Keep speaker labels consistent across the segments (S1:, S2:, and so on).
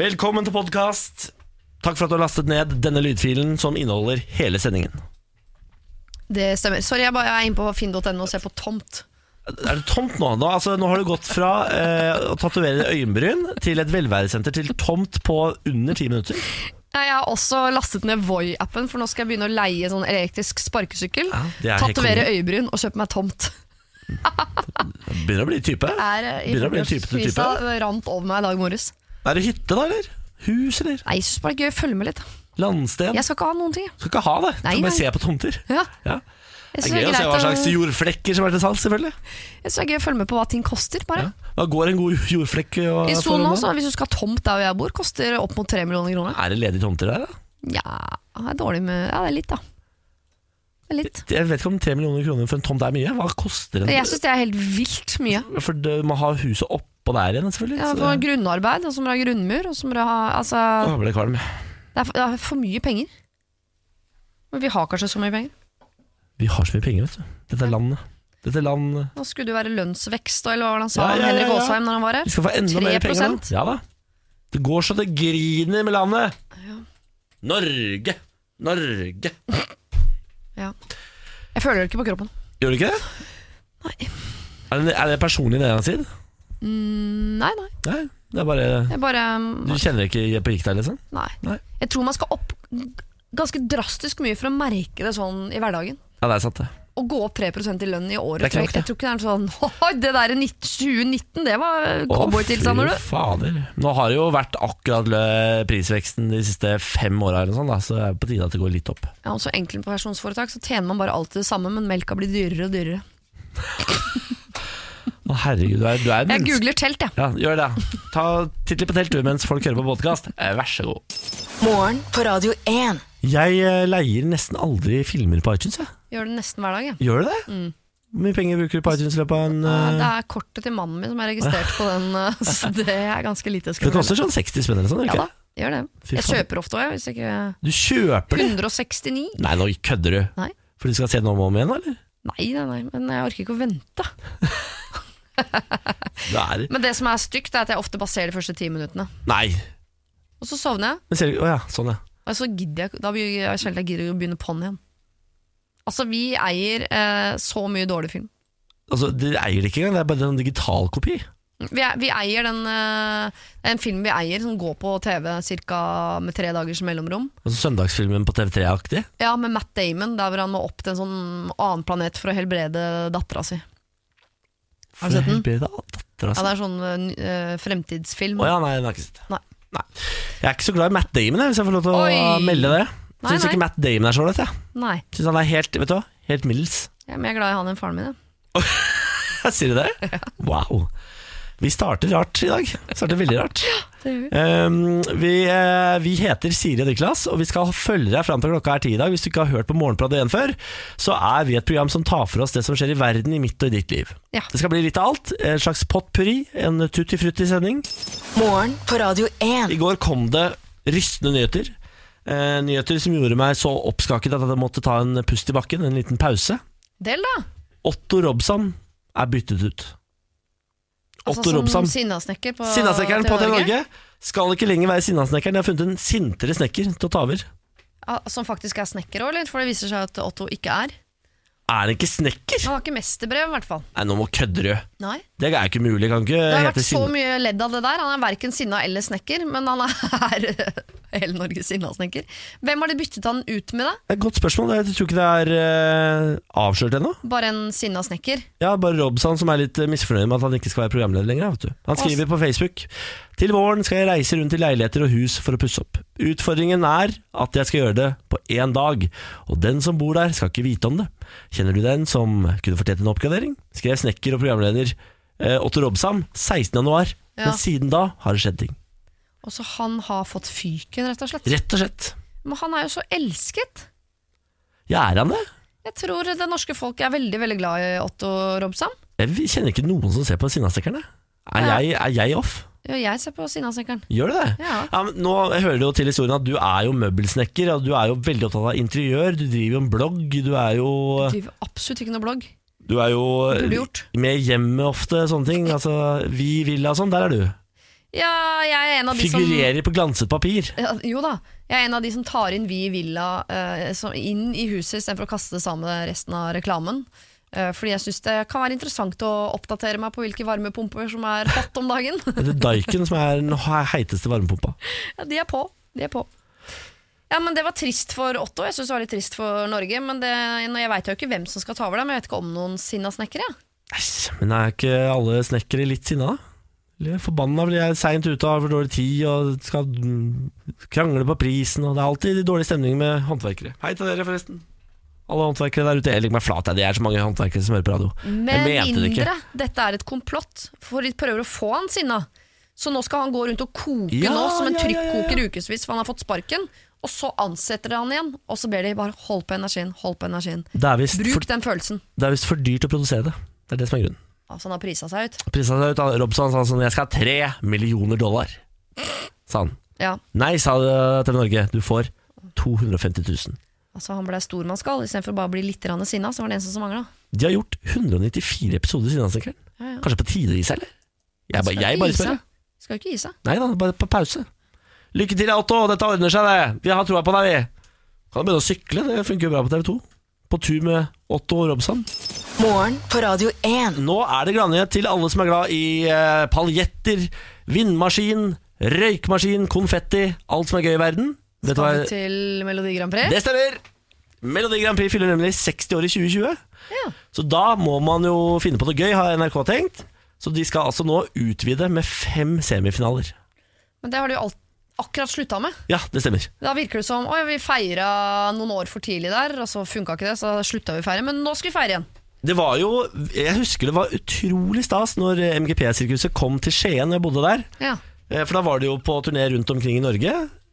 S1: Velkommen til podkast. Takk for at du har lastet ned denne lydfilen som inneholder hele sendingen.
S2: Det stemmer. Sorry, jeg, bare, jeg er inne på finn.no og ser på tomt.
S1: Er det tomt nå? Nå, altså, nå har du gått fra eh, å tatovere øyenbryn til et velværesenter til tomt på under ti minutter.
S2: Nei, Jeg har også lastet ned Voi-appen, for nå skal jeg begynne å leie sånn elektrisk sparkesykkel.
S1: det er helt
S2: Tatovere
S1: konge.
S2: øyebryn og kjøpe meg tomt.
S1: Begynner å bli type.
S2: Er, eh, i
S1: Begynner å bli en type til type.
S2: forkjølelseskrisa rant over meg i dag morges.
S1: Er det hytte, da, eller? Hus, eller?
S2: Nei, jeg synes bare det er gøy. Følg med litt.
S1: Landsted?
S2: Jeg skal ikke ha noen ting. jeg.
S1: Skal ikke ha det.
S2: Nei,
S1: Skal
S2: nei.
S1: bare se på tomter.
S2: Ja.
S1: Ja.
S2: Jeg
S1: Det
S2: synes
S1: er gøy å se hva slags
S2: å-
S1: jordflekker som er til salgs, selvfølgelig.
S2: jeg synes det er gøy å følge med på hva ting koster. bare.
S1: Ja. Hva går en god jordflekk eh, å-
S2: I
S1: for
S2: Son
S1: om
S2: også,
S1: dagen?
S2: hvis du skal ha tomt der hvor jeg bor, koster opp mot 3 millioner kroner.
S1: Er det ledige tomter der, da?
S2: Ja, det er dårlig med Ja, det er litt, da. Det er litt.
S1: Jeg vet ikke om tre millioner kroner for en tomt er mye. Hva koster en
S2: Jeg syns det er helt vilt mye.
S1: For det, man har huset oppå der igjen, selvfølgelig.
S2: Ja,
S1: så
S2: for
S1: det,
S2: grunnarbeid, og så må du ha grunnmur, og så må du ha Altså,
S1: Åh, ble jeg kvalm.
S2: det er, for, det er for mye penger. Men vi har kanskje så mye penger.
S1: Vi har så mye penger, vet du. Dette er landet. Dette er landet.
S2: Nå skulle det jo være lønnsvekst, eller hva var det han sa,
S1: Ja, ja, ja,
S2: Henrik
S1: ja.
S2: Aasheim, når han var
S1: Vi
S2: her?
S1: skal få enda mer penger. nå.
S2: 3%.
S1: Ja da. Det går så det griner med landet. Norge, Norge.
S2: Ja. Jeg føler det ikke på kroppen.
S1: Gjør det ikke det?
S2: Nei.
S1: Er det, er det personlig nedgang sin?
S2: Mm, nei, nei.
S1: Nei, det er bare
S2: Jeg bare
S1: Du kjenner ikke på gikk der, liksom?
S2: Nei.
S1: Nei.
S2: Jeg tror man skal opp ganske drastisk mye for å merke det sånn i hverdagen.
S1: Ja, det er sant, det.
S2: Å gå opp 3 i lønn i året
S1: Det er
S2: tror jeg,
S1: knekt, det.
S2: jeg tror ikke det er sånn Oi, det der i 19- 2019, det var cowboytilstander,
S1: Å,
S2: du.
S1: fy fader. Nå har det jo vært akkurat lø- prisveksten de siste fem åra, så det er på tide at det går litt opp.
S2: Ja, og så enkeltpersonsforetak så tjener man bare alltid det samme, men melka blir dyrere og dyrere.
S1: Å, herregud, du er, du er en
S2: Jeg
S1: menneske.
S2: googler telt, jeg.
S1: Ja, gjør det. Ta Titt litt på telttur mens folk hører på podkast. Vær så god.
S3: Morgen på Radio 1.
S1: Jeg eh, leier nesten aldri filmer på iTunes. Jeg.
S2: Gjør det nesten hver dag. Jeg.
S1: Gjør du det? Hvor mye penger bruker du på iTunes i løpet av en
S2: Mm. Ja,
S1: eh,
S2: Det er kortet til mannen min som er registrert på den, eh, så det er ganske lite.
S1: Det koster sånn 60 spenn eller sånn?
S2: Ja
S1: Ikke?
S2: da, gjør det.
S1: Fy
S2: Jeg
S1: faen.
S2: kjøper ofte òg, hvis ikke
S1: du kjøper det?
S2: 169.
S1: Nei, nå kødder du.
S2: Nei.
S1: For du skal se den om og om igjen, eller?
S2: Nei, nei, nei, men jeg orker ikke å vente.
S1: Det er...
S2: Men det som er stygt, er at jeg ofte baserer de første ti minuttene.
S1: Nei.
S2: Og så sovner jeg,
S1: Men ser du Å ja, sånn ja.
S2: og så gidder jeg, da blir jeg sjelden jeg gidder å begynne på'n igjen. Altså, vi eier eh, så mye dårlig film.
S1: Altså, Dere eier det ikke engang, det er bare en digital kopi.
S2: Vi, er, vi eier den eh, det er En film vi eier som går på TV cirka med tre dagers mellomrom.
S1: Altså Søndagsfilmen på TV3-aktig.
S2: Ja, Med Matt Damon, der hvor han må opp til en sånn annen planet for å helbrede dattera si. Har du sett den?
S1: Datter,
S2: Ja,
S1: altså.
S2: Det er sånn eh, ny- eh, fremtidsfilm.
S1: Å ja, nei, den har jeg ikke sett.
S2: Nei.
S1: Nei. Jeg er ikke så glad i Matt Damon, jeg, hvis jeg får lov til å
S2: Oi.
S1: melde det.
S2: Nei,
S1: Syns
S2: nei.
S1: ikke Matt Damon er så ålreit, jeg.
S2: Nei,
S1: Syns han er helt Vet du hva? Helt middels.
S2: jeg er mer glad i han enn faren min. jeg.
S1: Sier du det? Wow. Vi starter rart i dag. Starter veldig rart.
S2: Det gjør vi.
S1: Um, vi, eh, vi heter Siri og Niklas, og vi skal følge deg fram til klokka er ti i dag. Hvis du ikke har hørt på Morgenprat 1 før, så er vi et program som tar for oss det som skjer i verden, i mitt og i ditt liv.
S2: Ja.
S1: Det skal bli litt av alt. En slags potpurri, en tutti-frutti-sending.
S3: Morgen på Radio 1.
S1: I går kom det rystende nyheter. Eh, nyheter som gjorde meg så oppskaket at jeg måtte ta en pust i bakken, en liten pause.
S2: Del, da!
S1: Otto Robsam er byttet ut. Otto
S2: Altså som
S1: Robsam.
S2: sinnasnekker på
S1: Sinnasnekkeren på
S2: TV
S1: TV
S2: Norge.
S1: Norge skal ikke lenger være sinnasnekkeren. De har funnet en sintere snekker til å ta over.
S2: Ja, som faktisk er snekker òg, eller? For det viser seg at Otto ikke er.
S1: Er det ikke snekker?
S2: Han har ikke mesterbrev, i hvert fall.
S1: Nei, nå må kødder du.
S2: Nei.
S1: Det er ikke mulig. Kan ikke
S2: Det har
S1: hete
S2: vært så
S1: sinn...
S2: mye ledd av det der. Han er verken sinna eller snekker, men han er eh, hele Norges sinnasnekker. Hvem har de byttet han ut med, da?
S1: Det er et godt spørsmål. Jeg tror ikke det er eh, avslørt ennå.
S2: Bare en sinna snekker?
S1: Ja, bare Robson som er litt eh, misfornøyd med at han ikke skal være programleder lenger. Vet du. Han skriver på Facebook Til våren skal jeg reise rundt i leiligheter og hus for å pusse opp. Utfordringen er at jeg skal gjøre det på én dag, og den som bor der skal ikke vite om det. Kjenner du den som kunne fortjent en oppgradering? Skrev snekker og programleder eh, Otto Robsam 16. januar,
S2: Ja.
S1: men siden da har det skjedd ting.
S2: Og så han har fått fyken, rett og slett.
S1: Rett og slett.
S2: Men han er jo så elsket.
S1: Ja, er han det?
S2: Jeg tror det norske folk er veldig veldig glad i Otto Robsam.
S1: Jeg kjenner ikke noen som ser på Sinnasnekkerne. Er,
S2: Ja.
S1: jeg- er jeg off?
S2: Ja, Jeg ser på Sinnasnekkeren.
S1: Gjør du det?
S2: Ja.
S1: men nå hører det jo til historien at du er jo møbelsnekker, og du er jo veldig opptatt av interiør, du driver jo en blogg, du er jo,
S2: Driver absolutt ikke noe blogg.
S1: du er
S2: Burde
S1: jo
S2: gjort.
S1: med hjemmet ofte, sånne ting. Altså, vi vil og sånn, der er du.
S2: Ja, jeg er en av de som
S1: Figurerer på glanset papir.
S2: ja, Jo da. Jeg er en av de som tar inn vi i villa eh, som, inn i huset istedenfor å kaste det sammen med resten av reklamen. Eh, fordi jeg syns det kan være interessant å oppdatere meg på hvilke varmepumper som er hot om dagen.
S1: Det er Daiken som er den heiteste varmepumpa.
S2: ja, de er på. De er på. Ja, men Det var trist for Otto. Jeg synes det var litt trist for Norge. Men det, jeg veit jo ikke hvem som skal ta over det, men jeg vet ikke om noen sinna snekkere. jeg.
S1: Æsj, Men er ikke alle snekkere litt sinna, da? Eller Forbanna blir jeg seint ute, har for dårlig tid og skal mm, krangle på prisen. Og det er alltid dårlig stemning med håndverkere. Hei til dere, forresten. Alle håndverkere der ute. Jeg legger meg flat, jeg. det er så mange håndverkere som hører på radio.
S2: Med
S1: Jeg mente det ikke.
S2: mindre dette er et komplott, for de prøver å få han sinna. Så nå skal han gå rundt og koke
S1: Ja,
S2: nå som en
S1: ja, ja, ja, ja.
S2: trykkoker i ukevis, for han har fått sparken. Og så ansetter de han igjen, og så ber de bare hold på energien, hold på energien.
S1: Det er visst
S2: Bruk
S1: for,
S2: den følelsen.
S1: det er visst for dyrt å produsere det. Det er det som er grunnen.
S2: Altså, han har prisa seg ut.
S1: Prisa seg ut. Robson sa sånn Jeg skal ha tre millioner dollar. Sa han.
S2: Ja,
S1: Nei, sa TV Norge. Du får 250 000.
S2: altså Han ble stor man skal, istedenfor bare å bli litt grann sinna. Så var det eneste som mangla.
S1: De har gjort 194 episoder siden Snekkeren.
S2: Ja, ja.
S1: Kanskje på tide å gi seg, eller? Jeg, bare- jeg bare spør. jeg.
S2: Skal jo ikke gi seg.
S1: Nei da, bare på pause. Lykke til, Otto. Dette ordner seg, det. Vi har troa på deg, vi. Kan begynne å sykle. Det funker jo bra på TV 2. På tur med Otto og Robson.
S3: Morgen på Radio 1.
S1: Nå er det gladnyhet til alle som er glad i eh, paljetter, vindmaskin, røykmaskin, konfetti, alt som er gøy i verden. Vet du
S2: Skal
S1: hva?
S2: vi til Melodi Grand Prix?
S1: Det stemmer! Melodi Grand Prix fyller nemlig 60 år i 2020.
S2: Ja.
S1: Så da må man jo finne på noe gøy, har NRK tenkt. Så de skal altså nå utvide med fem semifinaler.
S2: Men det har de jo alt, akkurat slutta med.
S1: Ja, det stemmer.
S2: Da virker det som oi, vi feira noen år for tidlig der, og så funka ikke det, så slutta vi å feire. Men nå skal vi feire igjen.
S1: Det var jo, Jeg husker det var utrolig stas når MGP-sirkuset kom til Skien, og jeg bodde der.
S2: Ja.
S1: Eh, For da var det jo på turné rundt omkring i Norge.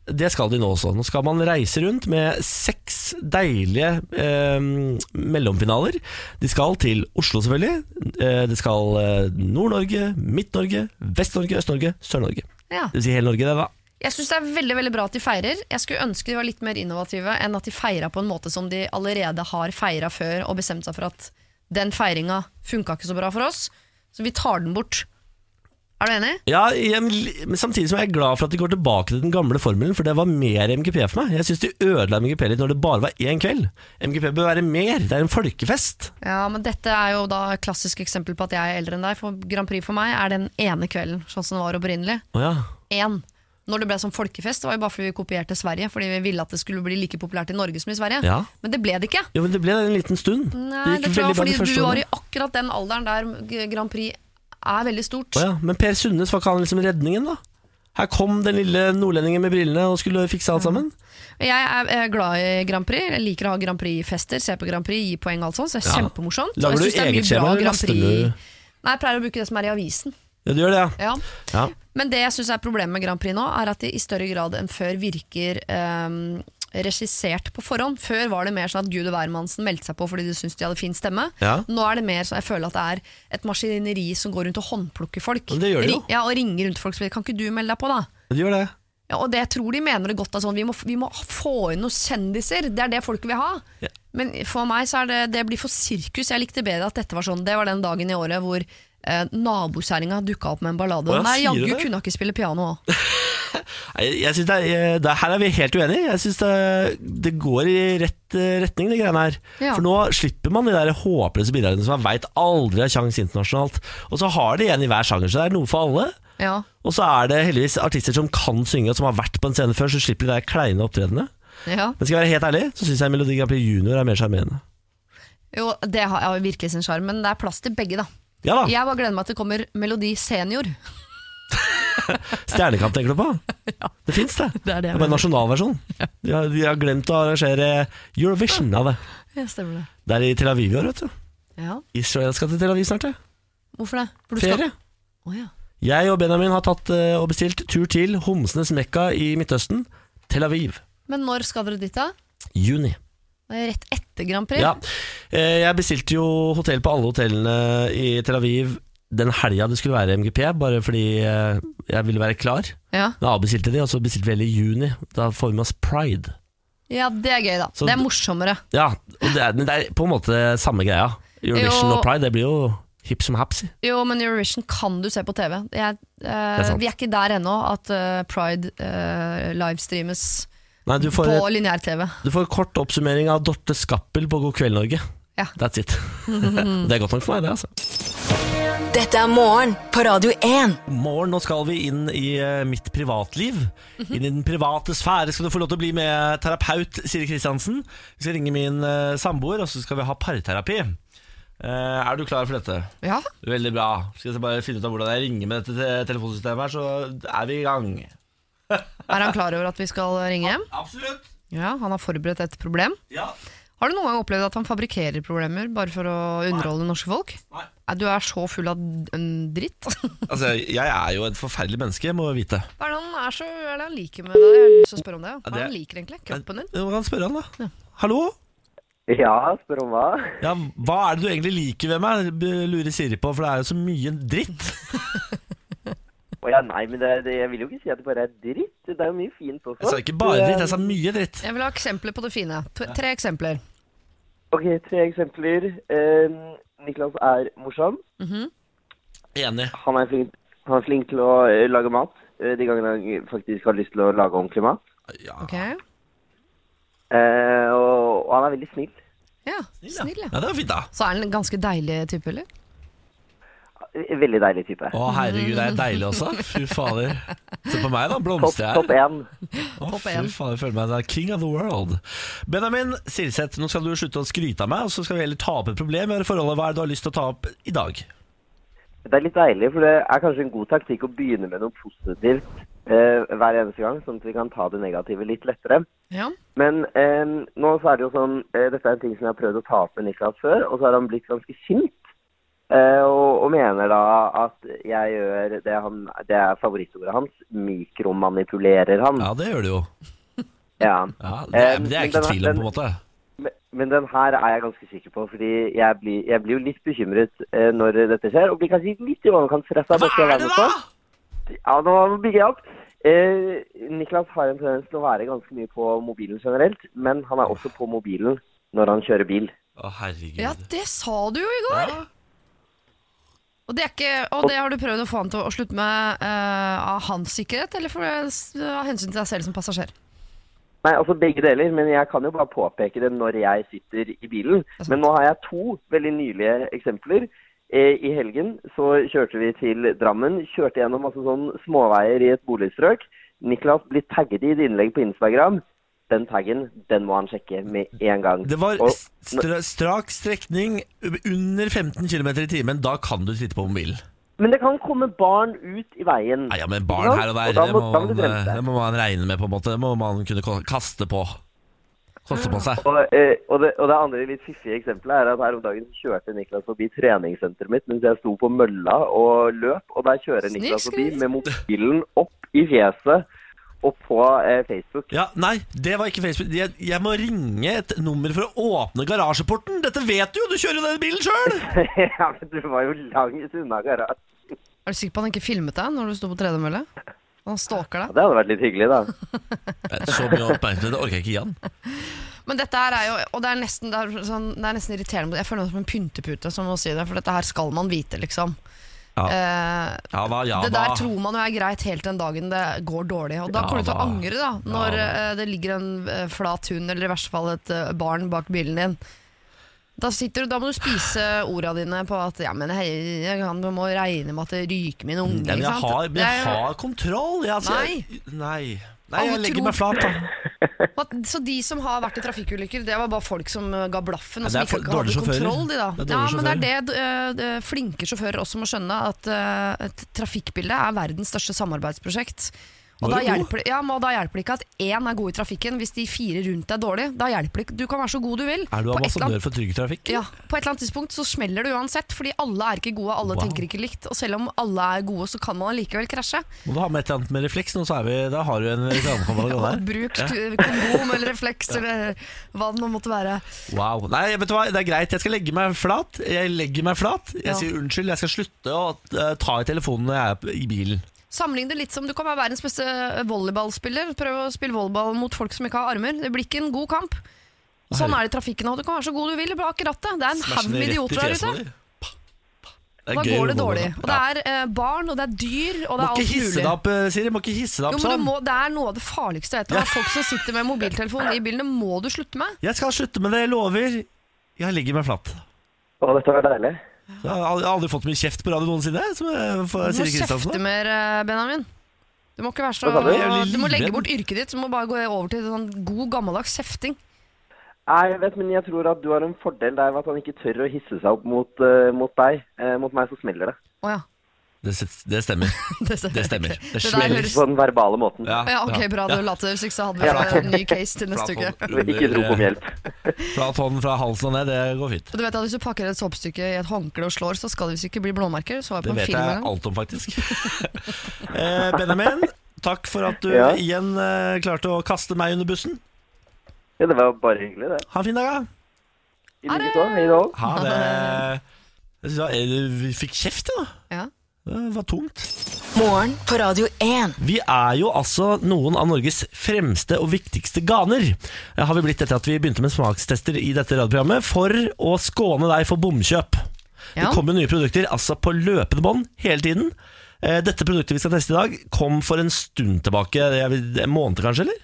S1: Det skal de nå også. Nå skal man reise rundt med seks deilige eh, mellomfinaler. De skal til Oslo, selvfølgelig. Eh, det skal eh, Nord-Norge, Midt-Norge, Vest-Norge, Øst-Norge, Sør-Norge.
S2: Ja.
S1: Det vil si hele Norge, det, da.
S2: Jeg syns det er veldig veldig bra at de feirer. Jeg skulle ønske de var litt mer innovative enn at de feira på en måte som de allerede har feira før og bestemt seg for at den feiringa funka ikke så bra for oss, så vi tar den bort. Er du enig?
S1: Ja, i en, li- men samtidig som jeg er glad for at de går tilbake til den gamle formelen, for det var mer MGP for meg. Jeg syns de ødela MGP litt når det bare var én kveld. MGP bør være mer, det er en folkefest.
S2: Ja, men dette er jo da et klassisk eksempel på at jeg er eldre enn deg, for Grand Prix for meg er den ene kvelden, sånn som det var opprinnelig.
S1: Å ja.
S2: Én. Når det ble som folkefest, det var jo bare fordi vi kopierte Sverige, fordi vi ville at det skulle bli like populært i Norge som i Sverige.
S1: Ja.
S2: Men det ble det ikke.
S1: Jo, men det ble det en liten stund.
S2: Nei, det,
S1: gikk
S2: tror jeg
S1: veldig
S2: var
S1: bra de
S2: fordi
S1: første
S2: du var
S1: årene.
S2: i akkurat den alderen der G- Grand Prix er veldig stort.
S1: Å ja. Men Per Sundnes var ikke han liksom redningen, da? Her kom den lille nordlendingen med brillene og skulle fikse
S2: Mm.
S1: alt sammen.
S2: Jeg er eh, glad i Grand Prix. Jeg liker å ha Grand Prix-fester, se på Grand Prix, gi poeng og alt sånt. Så det er
S1: Ja.
S2: kjempemorsomt. Og
S1: Lager du
S2: jeg synes det er mye
S1: eget skjema,
S2: bra
S1: eller
S2: Grand
S1: laster
S2: Prix-
S1: du-
S2: Nei, jeg pleier å bruke det som er i avisen.
S1: Ja, du gjør det, ja.
S2: Ja.
S1: ja.
S2: Men det jeg syns er problemet med Grand Prix nå, er at de i større grad enn før virker ehm, regissert på forhånd. Før var det mer sånn at Gud og hvermannsen meldte seg på fordi de syntes de hadde fin stemme.
S1: Ja.
S2: Nå er det mer sånn jeg føler at det er et maskineri som går rundt og håndplukker folk.
S1: Men det gjør de jo.
S2: Ri- Ja, Og ringer rundt folk og sier 'kan ikke du melde deg på', da?
S1: Du gjør det.
S2: Ja, og det jeg tror de mener det godt av sånn, vi må, vi må få inn noen kjendiser, det er det folk vil ha.
S1: Ja.
S2: Men for meg så er det, det blir for sirkus, jeg likte bedre at dette var sånn, det var den dagen i året hvor eh, nabokjæringa dukket opp med en ballade.
S1: Å, ja,
S2: Nei,
S1: sier du
S2: jaggu
S1: det?
S2: kunne hun ikke spille piano også.
S1: Nei, Jeg synes det er, eh, det, her er vi helt uenige. Jeg syns det, det går i rett eh, retning, de greiene her.
S2: Ja.
S1: For nå slipper man de der håpløse bidragene som man veit aldri har kjangs internasjonalt. Og så har de en i hver sjanger, så det er noe for alle.
S2: Ja.
S1: Og så er det heldigvis artister som kan synge, og som har vært på en scene før, så slipper de der kleine opptredenene.
S2: Ja.
S1: Men skal jeg være helt ærlig, så syns jeg Melodi Grand Prix Junior er mer sjarmerende.
S2: Jo, det har har jo virkelig sin sjarm, men det er plass til begge, da.
S1: Ja da,
S2: Jeg bare gleder meg til det kommer Melodi senior.
S1: Stjernekamp tenker du på? Det fins, det.
S2: Det er det
S1: Det er bare
S2: jeg
S1: en
S2: mener.
S1: nasjonalversjon. De har, de har glemt å arrangere Eurovision av det.
S2: Ja, stemmer det.
S1: Det er i Tel Aviv i år, vet du.
S2: Ja.
S1: Israel skal til Tel Aviv snart, ja.
S2: Hvorfor det? For du skal-
S1: Ferie.
S2: Å, ja.
S1: Jeg og Benjamin har tatt eh, og bestilt tur til homsenes mekka i Midtøsten, Tel Aviv.
S2: Men når skal dere dit, da?
S1: Juni.
S2: Det er Rett etter Grand Prix?
S1: Ja. Eh, Jeg bestilte jo hotell på alle hotellene i Tel Aviv den helga det skulle være MGP, bare fordi eh, jeg ville være klar.
S2: Ja.
S1: Da avbestilte de, og så bestilte vi hele i juni. Da får vi med oss pride.
S2: Ja, det er gøy, da.
S1: Så
S2: det er
S1: d-
S2: morsommere.
S1: Ja, og det er, men det er på en måte samme greia. Eurovision
S2: Jo.
S1: og pride, det blir jo hipp som hapsi.
S2: Jo, men Eurovision kan du se på TV. Jeg, eh,
S1: er sant.
S2: vi er ikke der ennå at eh, Pride eh, livestreames
S1: Nei, du får,
S2: på lineær-TV.
S1: du får kort oppsummering av Dorte Skappel på God kveld, Norge.
S2: Ja.
S1: That's it. det er godt nok for meg, det, altså.
S3: Dette er morgen på Radio 1.
S1: morgen, nå skal vi inn i eh, mitt privatliv. Inn i den private sfære skal du få lov til å bli med terapeut Siri Kristiansen. Vi skal ringe min eh, samboer, og så skal vi ha parterapi. Eh, er du klar for dette?
S2: Ja.
S1: Veldig bra. Skal jeg bare finne ut av hvordan jeg ringer med dette te- telefonsystemet her, så er vi i gang.
S2: Er han klar over at vi skal ringe hjem?
S1: Absolutt.
S2: Ja, Han har forberedt et problem.
S1: Ja.
S2: Har du noen gang opplevd at han fabrikkerer problemer bare for å underholde norske folk?
S1: Nei.
S2: Nei, Du er så full av d- en dritt. Hva
S1: Altså, jeg er jo et forferdelig menneske, må jeg vite.
S2: er det han, er så, hva er det han liker med deg? Jeg har lyst til å spørre om det. Hva er det han
S1: det-
S2: liker egentlig? Kroppen din?
S1: Du kan spørre han, da. Hallo?
S4: Ja, spør om hva?
S1: Ja, hva er det du egentlig liker ved meg, b- lurer Siri på, for det er jo så mye dritt.
S4: Å ja, nei, men det, det, jeg vil jo ikke si at det bare er dritt. Det er jo mye fint også.
S1: Jeg sa ikke bare dritt, jeg sa mye dritt.
S2: Jeg vil ha eksempler på det fine. To- Tre eksempler.
S4: Ok, tre eksempler. Eh, Niklas er morsom.
S1: Enig.
S4: Han er flink, han er flink til å eh, lage mat. eh, De gangene han faktisk har lyst til å lage ordentlig mat.
S1: Ja.
S2: Ok?
S4: Eh, og, og han er veldig snill.
S2: Ja, snill, ja.
S1: Ja, det var fint da
S2: Så er han en ganske deilig type, eller?
S4: Eh, Veldig deilig type.
S1: Å herregud, det er deilig også Fy fader Se på meg da,
S4: Topp
S1: blomster jeg
S4: top én.
S1: Å,
S2: Topp
S1: fy
S2: en.
S1: fader, jeg føler meg som king of the world Benjamin Silseth, nå skal du slutte å skryte av meg Og så skal vi heller ta opp et problem Hva er forholdet, hva er det du har lyst til å ta opp i dag?
S4: Det er litt deilig, for det er kanskje en god taktikk å begynne med noe positivt eh, hver eneste gang, sånn at vi kan ta det negative litt lettere.
S2: Ja.
S4: Men eh, nå så er det jo sånn, eh, dette er en ting som jeg har prøvd å ta opp med Niklas før, og så har han blitt ganske sint. Eh, og, og mener da at jeg gjør det, han, det er favorittordet hans, mikromanipulerer han.
S1: Ja, det gjør du jo
S4: Ja.
S1: ja, det,
S4: Mm.
S1: det
S4: Eh,
S1: er jeg
S4: men
S1: ikke i
S4: den-
S1: tvil om på en måte
S4: Men, men den her er jeg ganske sikker på, fordi jeg blir, jeg blir jo litt bekymret eh, når dette skjer, og blir kanskje litt i overkant stresset.
S1: Hva
S4: borti å
S1: er
S4: være
S1: det
S4: med
S1: da?
S4: på. Ja, nå bygger jeg opp. Eh, Niklas har en tendens til å være ganske mye på mobilen generelt, men han er også på mobilen når han kjører bil.
S1: Å herregud
S2: ja, det sa du jo i går! Og, det er ikke, og det har du prøvd å få han til å slutte med eh, av hans sikkerhet, eller for, eh, av hensyn til deg selv som passasjer?
S4: Nei, altså begge deler, men jeg kan jo bare påpeke det når jeg sitter i bilen.
S1: Altså.
S2: sant.
S4: Men nå har jeg to veldig nylige eksempler. Eh, I helgen så kjørte vi til Drammen, kjørte gjennom masse sånn småveier i et boligstrøk. Niklas blir tagget i et innlegg på Instagram. Den taggen, den må han sjekke med en gang.
S1: Det var
S4: Og-
S1: stra strak strekning Under 15 km i timen Da kan du sitte på mobilen
S4: Men det kan komme barn ut i veien.
S1: Nei, ja, men barn her og der
S4: Og da
S1: det
S4: må- da
S1: må,
S4: må du
S1: man,
S4: bremse.
S1: det må man regne med på en måte Det må man kunne ko- kaste på Koste på seg
S4: Og, eh, og, det, og det andre litt fiffige eksempelet er at her om dagen kjørte Niklas forbi treningssenteret mitt mens jeg sto på mølla og løp, og der kjører
S2: Snill
S4: Niklas forbi
S2: skritt.
S4: med mobilen opp i fjeset og på eh, Facebook.
S1: Ja, Nei, det var ikke Facebook. Jeg, jeg må ringe et nummer for å åpne garasjeporten. Dette vet du jo, du kjører jo den bilen sjøl!
S4: ja, men du var jo langt unna garasjen.
S2: Er du sikker på at han ikke filmet deg når du sto på tredemølle? Han stalker deg?
S4: Det hadde vært litt hyggelig, da.
S1: Så mye oppmerksomhet det orker jeg ikke igjen.
S2: Men dette her er jo Og det er nesten, det er sånn, det er nesten irriterende Jeg føler meg som en pyntepute som må si det For dette her skal man vite liksom
S1: Ja.
S2: Eh,
S1: Ja da, ja
S2: Det
S1: da.
S2: der tror man jo er greit Helt den dagen det går dårlig Og da
S1: Ja
S2: kommer du til å
S1: da.
S2: angre da Når
S1: Ja
S2: eh, det ligger en eh, flat hund Eller i verste fall et eh, barn bak bilen din da, sitter du, da må du spise ordene dine på at Ja, men hei, jeg kan, du må regne med at det ryker min unge
S1: Nei, men jeg
S2: ikke sant?
S1: har, men
S2: Det
S1: jeg
S2: er jo-
S1: har kontroll. Jeg, altså, jeg, nei. nei, jeg
S2: Alle
S1: legger
S2: tror-
S1: meg flat, da.
S2: At, så de som har vært i trafikkulykker, det var bare folk som eh, ga blaffen
S1: Ja,
S2: og som
S1: det er
S2: ikke
S1: for-
S2: hadde
S1: dårlige sjåfører.
S2: kontroll, de da.
S1: Det er dårlige
S2: ja, men det er det eh, det- flinke sjåfører også må skjønne, at eh, et trafikkbilde er verdens største samarbeidsprosjekt. Og
S1: Nå
S2: da,
S1: er du god.
S2: hjelper, det- ja, men og da hjelper det ikke at én er god i trafikken hvis de fire rundt er dårlige. Da hjelper det ikke. Du kan være så god du
S1: Er
S2: vil.
S1: du
S2: På et eller annet-
S1: ambassadør for Trygg Trafikk?
S2: ja, på et eller annet tidspunkt så smeller det uansett, fordi alle er ikke gode, alle
S1: Wow.
S2: tenker ikke likt. Og selv om alle er gode, så kan man allikevel krasje.
S1: Må du ha med et eller annet med refleks? Nå så er vi, da har du en reklamekanal gående her.
S2: Og bruk eh, kondom eller refleks eller hva det nå måtte være.
S1: Wow. Nei, vet du hva, det er greit. Jeg skal legge meg flat. Jeg legger meg flat. Jeg
S2: Ja.
S1: sier unnskyld. Jeg skal slutte å eh, ta i telefonen når jeg er på- i bilen.
S2: Sammenlign det litt som du kan være verdens beste volleyballspiller. Prøv å spille volleyball mot folk som ikke har armer. Det blir ikke en god kamp. Sånn er det i trafikken òg. Du kan være så god du vil, bare akkurat det. Det er en haug med idioter der ute.
S1: Det er
S2: Da
S1: gøy å
S2: går det
S1: gå med
S2: dårlig.
S1: det.
S2: Og det er eh, barn, og det er dyr, og
S1: Må
S2: det er
S1: ikke
S2: alt
S1: hisse
S2: mulig.
S1: deg opp, eh, Siri. Må ikke hisse deg
S2: Jo,
S1: opp
S2: men du
S1: sånn.
S2: må, Det er noe av det farligste jeg vet. Det er folk som sitter med mobiltelefon i bilen. Det må du slutte med.
S1: Jeg skal slutte med det, jeg lover. Jeg ligger meg flatt.
S4: Å, dette var deilig.
S1: Så Jeg har aldri- aldri fått mye kjeft på radio noensinne. Som eh, for
S2: Du må
S1: Siri
S2: kjefte
S1: Kristiansen.
S2: mer, eh, Benjamin. Du må ikke være så
S4: Hva sa du?
S1: Jeg blir
S2: Du må legge
S1: livredd.
S2: bort yrket ditt. Du må bare gå over til sånn god, gammeldags kjefting.
S4: Nei, jeg vet, men jeg tror at du har en fordel der ved at han ikke tør å hisse seg opp mot, eh, mot deg. Eh, mot meg så smeller det.
S2: Å ja.
S1: Det, s- det stemmer. Det stemmer. Det
S2: der
S1: smeller.
S2: høres-
S4: På den verbale måten.
S2: Å ja, ok, bra. Du later som så hadde vi
S4: Ja.
S2: en ny case til neste uke.
S4: Ikke rop om hjelp.
S1: Fra hånden eh, fra halsen og ned, det går fint.
S2: Og du vet at Hvis du pakker et såpestykke i et håndkle og slår, så skal det visst ikke bli blåmerker. Så var jeg
S1: Det
S2: på en
S1: vet
S2: film en
S1: jeg
S2: gang.
S1: alt om, faktisk. eh, Benjamin, takk for at du
S4: Ja.
S1: igjen eh, klarte å kaste meg under bussen.
S4: Ja, det var bare hyggelig, det.
S1: Ha en fin dag, da.
S4: I like så. Hei da.
S1: Ha det. Jeg synes, jeg- vi fikk kjeft, ja.
S2: Ja.
S1: Det var tungt.
S3: Morgen på Radio 1.
S1: Vi er jo altså noen av Norges fremste og viktigste ganer. Eh, Har vi blitt etter at vi begynte med smakstester i dette radioprogrammet for å skåne deg for bomkjøp.
S2: Ja.
S1: Det kommer nye produkter altså på løpende bånd hele tiden. Eh, Dette produktet vi skal teste i dag, kom for en stund tilbake. jeg vil- En måned, kanskje? eller?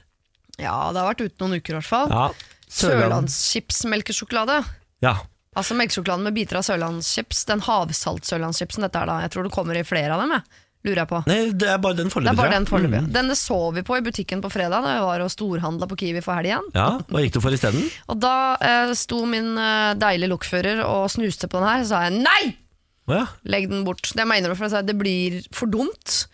S2: ja, det har vært ute noen uker i hvert fall.
S1: Ja. Sørland.
S2: Sørlandschips melkesjokolade.
S1: Ja.
S2: Altså melkesjokoladen med biter av sørlandschips. Den havsalt-sørlandschipsen dette er da. Jeg tror det kommer i flere av dem, jeg. Lurer jeg på.
S1: Nei, det er bare den
S2: Det
S1: foreløpig.
S2: er bare den
S1: tror jeg.
S2: foreløpig.
S1: Mm.
S2: Denne så vi på i butikken på fredag da jeg var og storhandla på Kiwi for helgen.
S1: Ja, Hva gikk du for isteden?
S2: Og da eh, sto min eh, deilige lokfører og snuste på den her, så sa jeg nei!
S1: Å ja.
S2: Legg den bort. Det, jeg må innrømme, for jeg sa, det blir for dumt.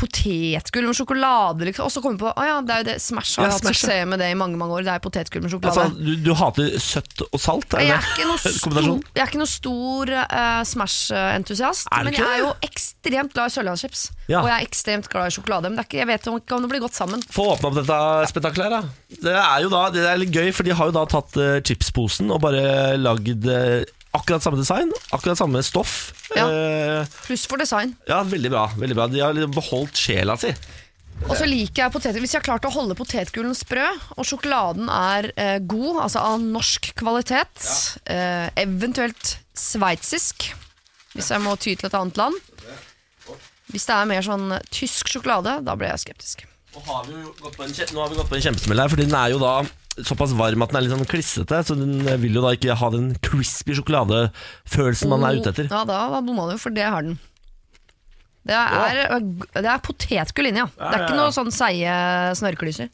S2: Potetgull med sjokolade, liksom. Og så kom jeg på å ja, det er jo det Smash har
S1: Ja,
S2: hatt
S1: Smash, ja.
S2: suksess med det i mange mange år. Det er potetgull med sjokolade.
S1: altså, du, du hater søtt og salt? Er det?
S2: jeg er ikke noe stor,
S1: Kombinasjon?
S2: jeg er ikke noe stor eh, Smash-entusiast,
S1: Er du
S2: men
S1: ikke
S2: jeg er
S1: det?
S2: jo ekstremt glad i sørlandschips.
S1: Ja.
S2: Og jeg er ekstremt glad i sjokolade. Men det er ikke, jeg vet om- ikke om det blir godt sammen.
S1: Få åpne opp dette spetakkelet her, da. Det er jo da, det er litt gøy, for de har jo da tatt eh, chipsposen og bare lagd eh, akkurat samme design, akkurat samme stoff.
S2: Ja.
S1: Eh,
S2: Pluss for design.
S1: ja veldig bra. veldig bra De har liksom beholdt sjela si.
S2: Og så liker jeg poteter. Hvis jeg har klart å holde potetgullen sprø, og sjokoladen er eh, god, altså av norsk kvalitet, eh, eventuelt sveitsisk, hvis jeg må ty til et annet land Hvis det er mer sånn tysk sjokolade, da blir jeg skeptisk.
S1: Nå har vi jo gått på en, kje- nå har vi gått på en kjempesmell her, fordi den er jo da såpass varm at den er litt sånn klissete, så den vil jo da ikke ha den crispy sjokoladefølelsen man er ute etter.
S2: Ja, da da bomma du, for det har den. Det er, det er potetgull inni, ja. Det er ikke noe sånn seige snørklyser.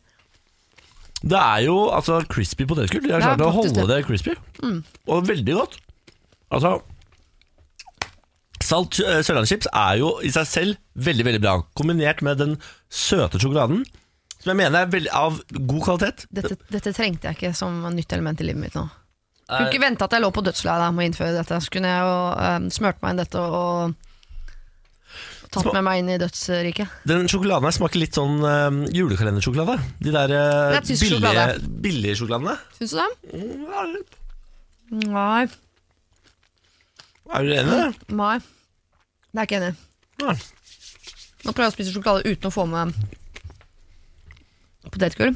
S1: Det er jo altså crispy potetgull. De har
S2: Det er
S1: klart å
S2: faktisk
S1: holde det crispy. Og veldig godt. Altså Salt eh, sørlandschips er jo i seg selv veldig veldig bra, kombinert med den søte sjokoladen, som jeg mener er veldig, av god kvalitet.
S2: Dette, dette trengte jeg ikke som nytt element i livet mitt nå. Skulle ikke vente at jeg lå på dødsleiet med å innføre dette. Så kunne jeg jo eh, smørt meg inn dette og, og tatt
S1: Små-
S2: med meg inn i dødsriket.
S1: Den sjokoladen her smaker litt sånn eh, julekalendersjokolade. De der eh,
S2: Det er tysk
S1: billige,
S2: sjokolade.
S1: billige sjokoladene.
S2: Syns du det?
S1: Mm, ja,
S2: Nei.
S1: Er du enig i det?
S2: Nei. Det er jeg ikke enig i.
S1: Ja.
S2: Nå prøver jeg å spise sjokolade uten å få med potetgull.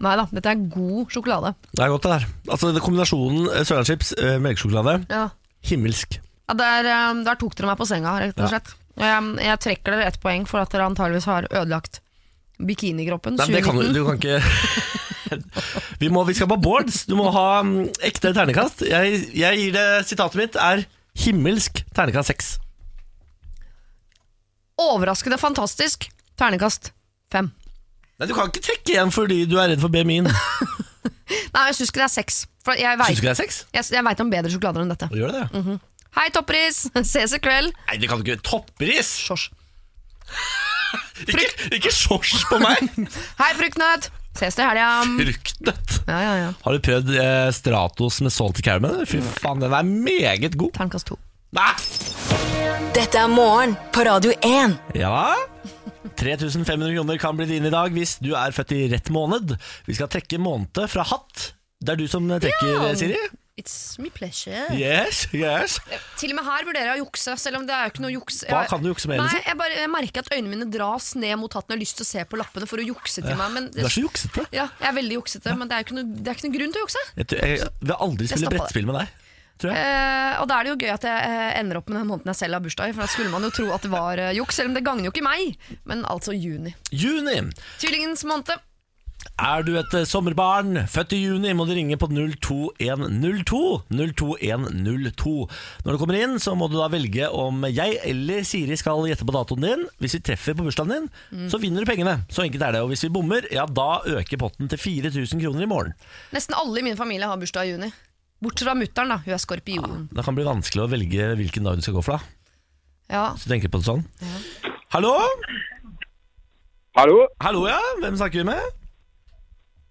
S2: Nei da, dette er god sjokolade.
S1: Det er godt, det der. Altså, det- kombinasjonen eh, sørlandschips, eh, melkesjokolade,
S2: Ja.
S1: himmelsk.
S2: Ja, der, eh, der tok dere meg på senga, rett og slett. Og Jeg, jeg trekker dere ett poeng for at dere antageligvis har ødelagt bikinikroppen.
S1: Nei, men det kan du,
S2: 2019.
S1: du kan ikke vi, må, vi skal på boards. Du må ha mm, ekte ternekast. Jeg, jeg gir det Sitatet mitt er himmelsk ternekast seks.
S2: Overraskende fantastisk. Ternekast fem.
S1: Nei, Du kan ikke trekke igjen fordi du er redd for BMI-en.
S2: Nei, jeg syns ikke det er seks. For jeg
S1: Syns
S2: veit
S1: du ikke det er seks?
S2: jeg, jeg vet om bedre sjokolader enn dette.
S1: Du gjør det.
S2: Hei, toppris! Ses i kveld.
S1: Nei, det kan du ikke. Toppris!
S2: Sjors.
S1: Ikke, ikke sjors på meg!
S2: Hei, fruktnøtt! Ses til helga.
S1: Fruktnøtt.
S2: Ja, ja, ja.
S1: Har du prøvd eh, Stratos med salty caramel? Fy faen, den er meget god.
S2: Ternekast to.
S1: Nei!
S3: Dette er morgen på Radio 1.
S1: Ja 3500 kroner kan bli dine i dag hvis du er født i rett måned. Vi skal trekke måned fra hatt. Det er du som trekker, eh, Siri.
S2: It's my pleasure.
S1: Yes, yes.
S2: Til og med her vurderer jeg å jukse, selv om det er jo ikke noe juks.
S1: Hva kan du jukse med,
S2: Nei,
S1: Else?
S2: jeg, bare, jeg merker at øynene mine dras ned mot hatten. Jeg har lyst til å se på lappene for å jukse til meg. Men
S1: Du er så juksete.
S2: ja, jeg er veldig juksete, men det er jo ikke noe, det er ikke noe grunn til å jukse.
S1: Jeg, tror- jeg vil aldri spille
S2: stopper det.
S1: brettspill med deg. tror jeg.
S2: Eh, og da er det jo gøy at jeg eh, ender opp med den måneden jeg selv har bursdag i, for da skulle man jo tro at det var eh, juks, selv om det gagner jo ikke meg. Men altså juni.
S1: Juni!
S2: Tvillingens måned.
S1: Er du et eh, sommerbarn født i juni, må du ringe på 02102 02102. Når du kommer inn, så må du da velge om jeg eller Siri skal gjette på datoen din. Hvis vi treffer på bursdagen din, så vinner du pengene. Så enkelt er det. Og hvis vi bommer, ja da øker potten til 4000 kroner i morgen.
S2: Nesten alle i min familie har bursdag i juni. Bortsett fra mutter'n, da. Hun er skorpion.
S1: Da kan det bli vanskelig å velge hvilken dag du skal gå for, da.
S2: Ja.
S1: Hvis du tenker på det sånn. Hallo?
S5: Hallo,
S1: Hallo, ja. Hvem snakker vi med?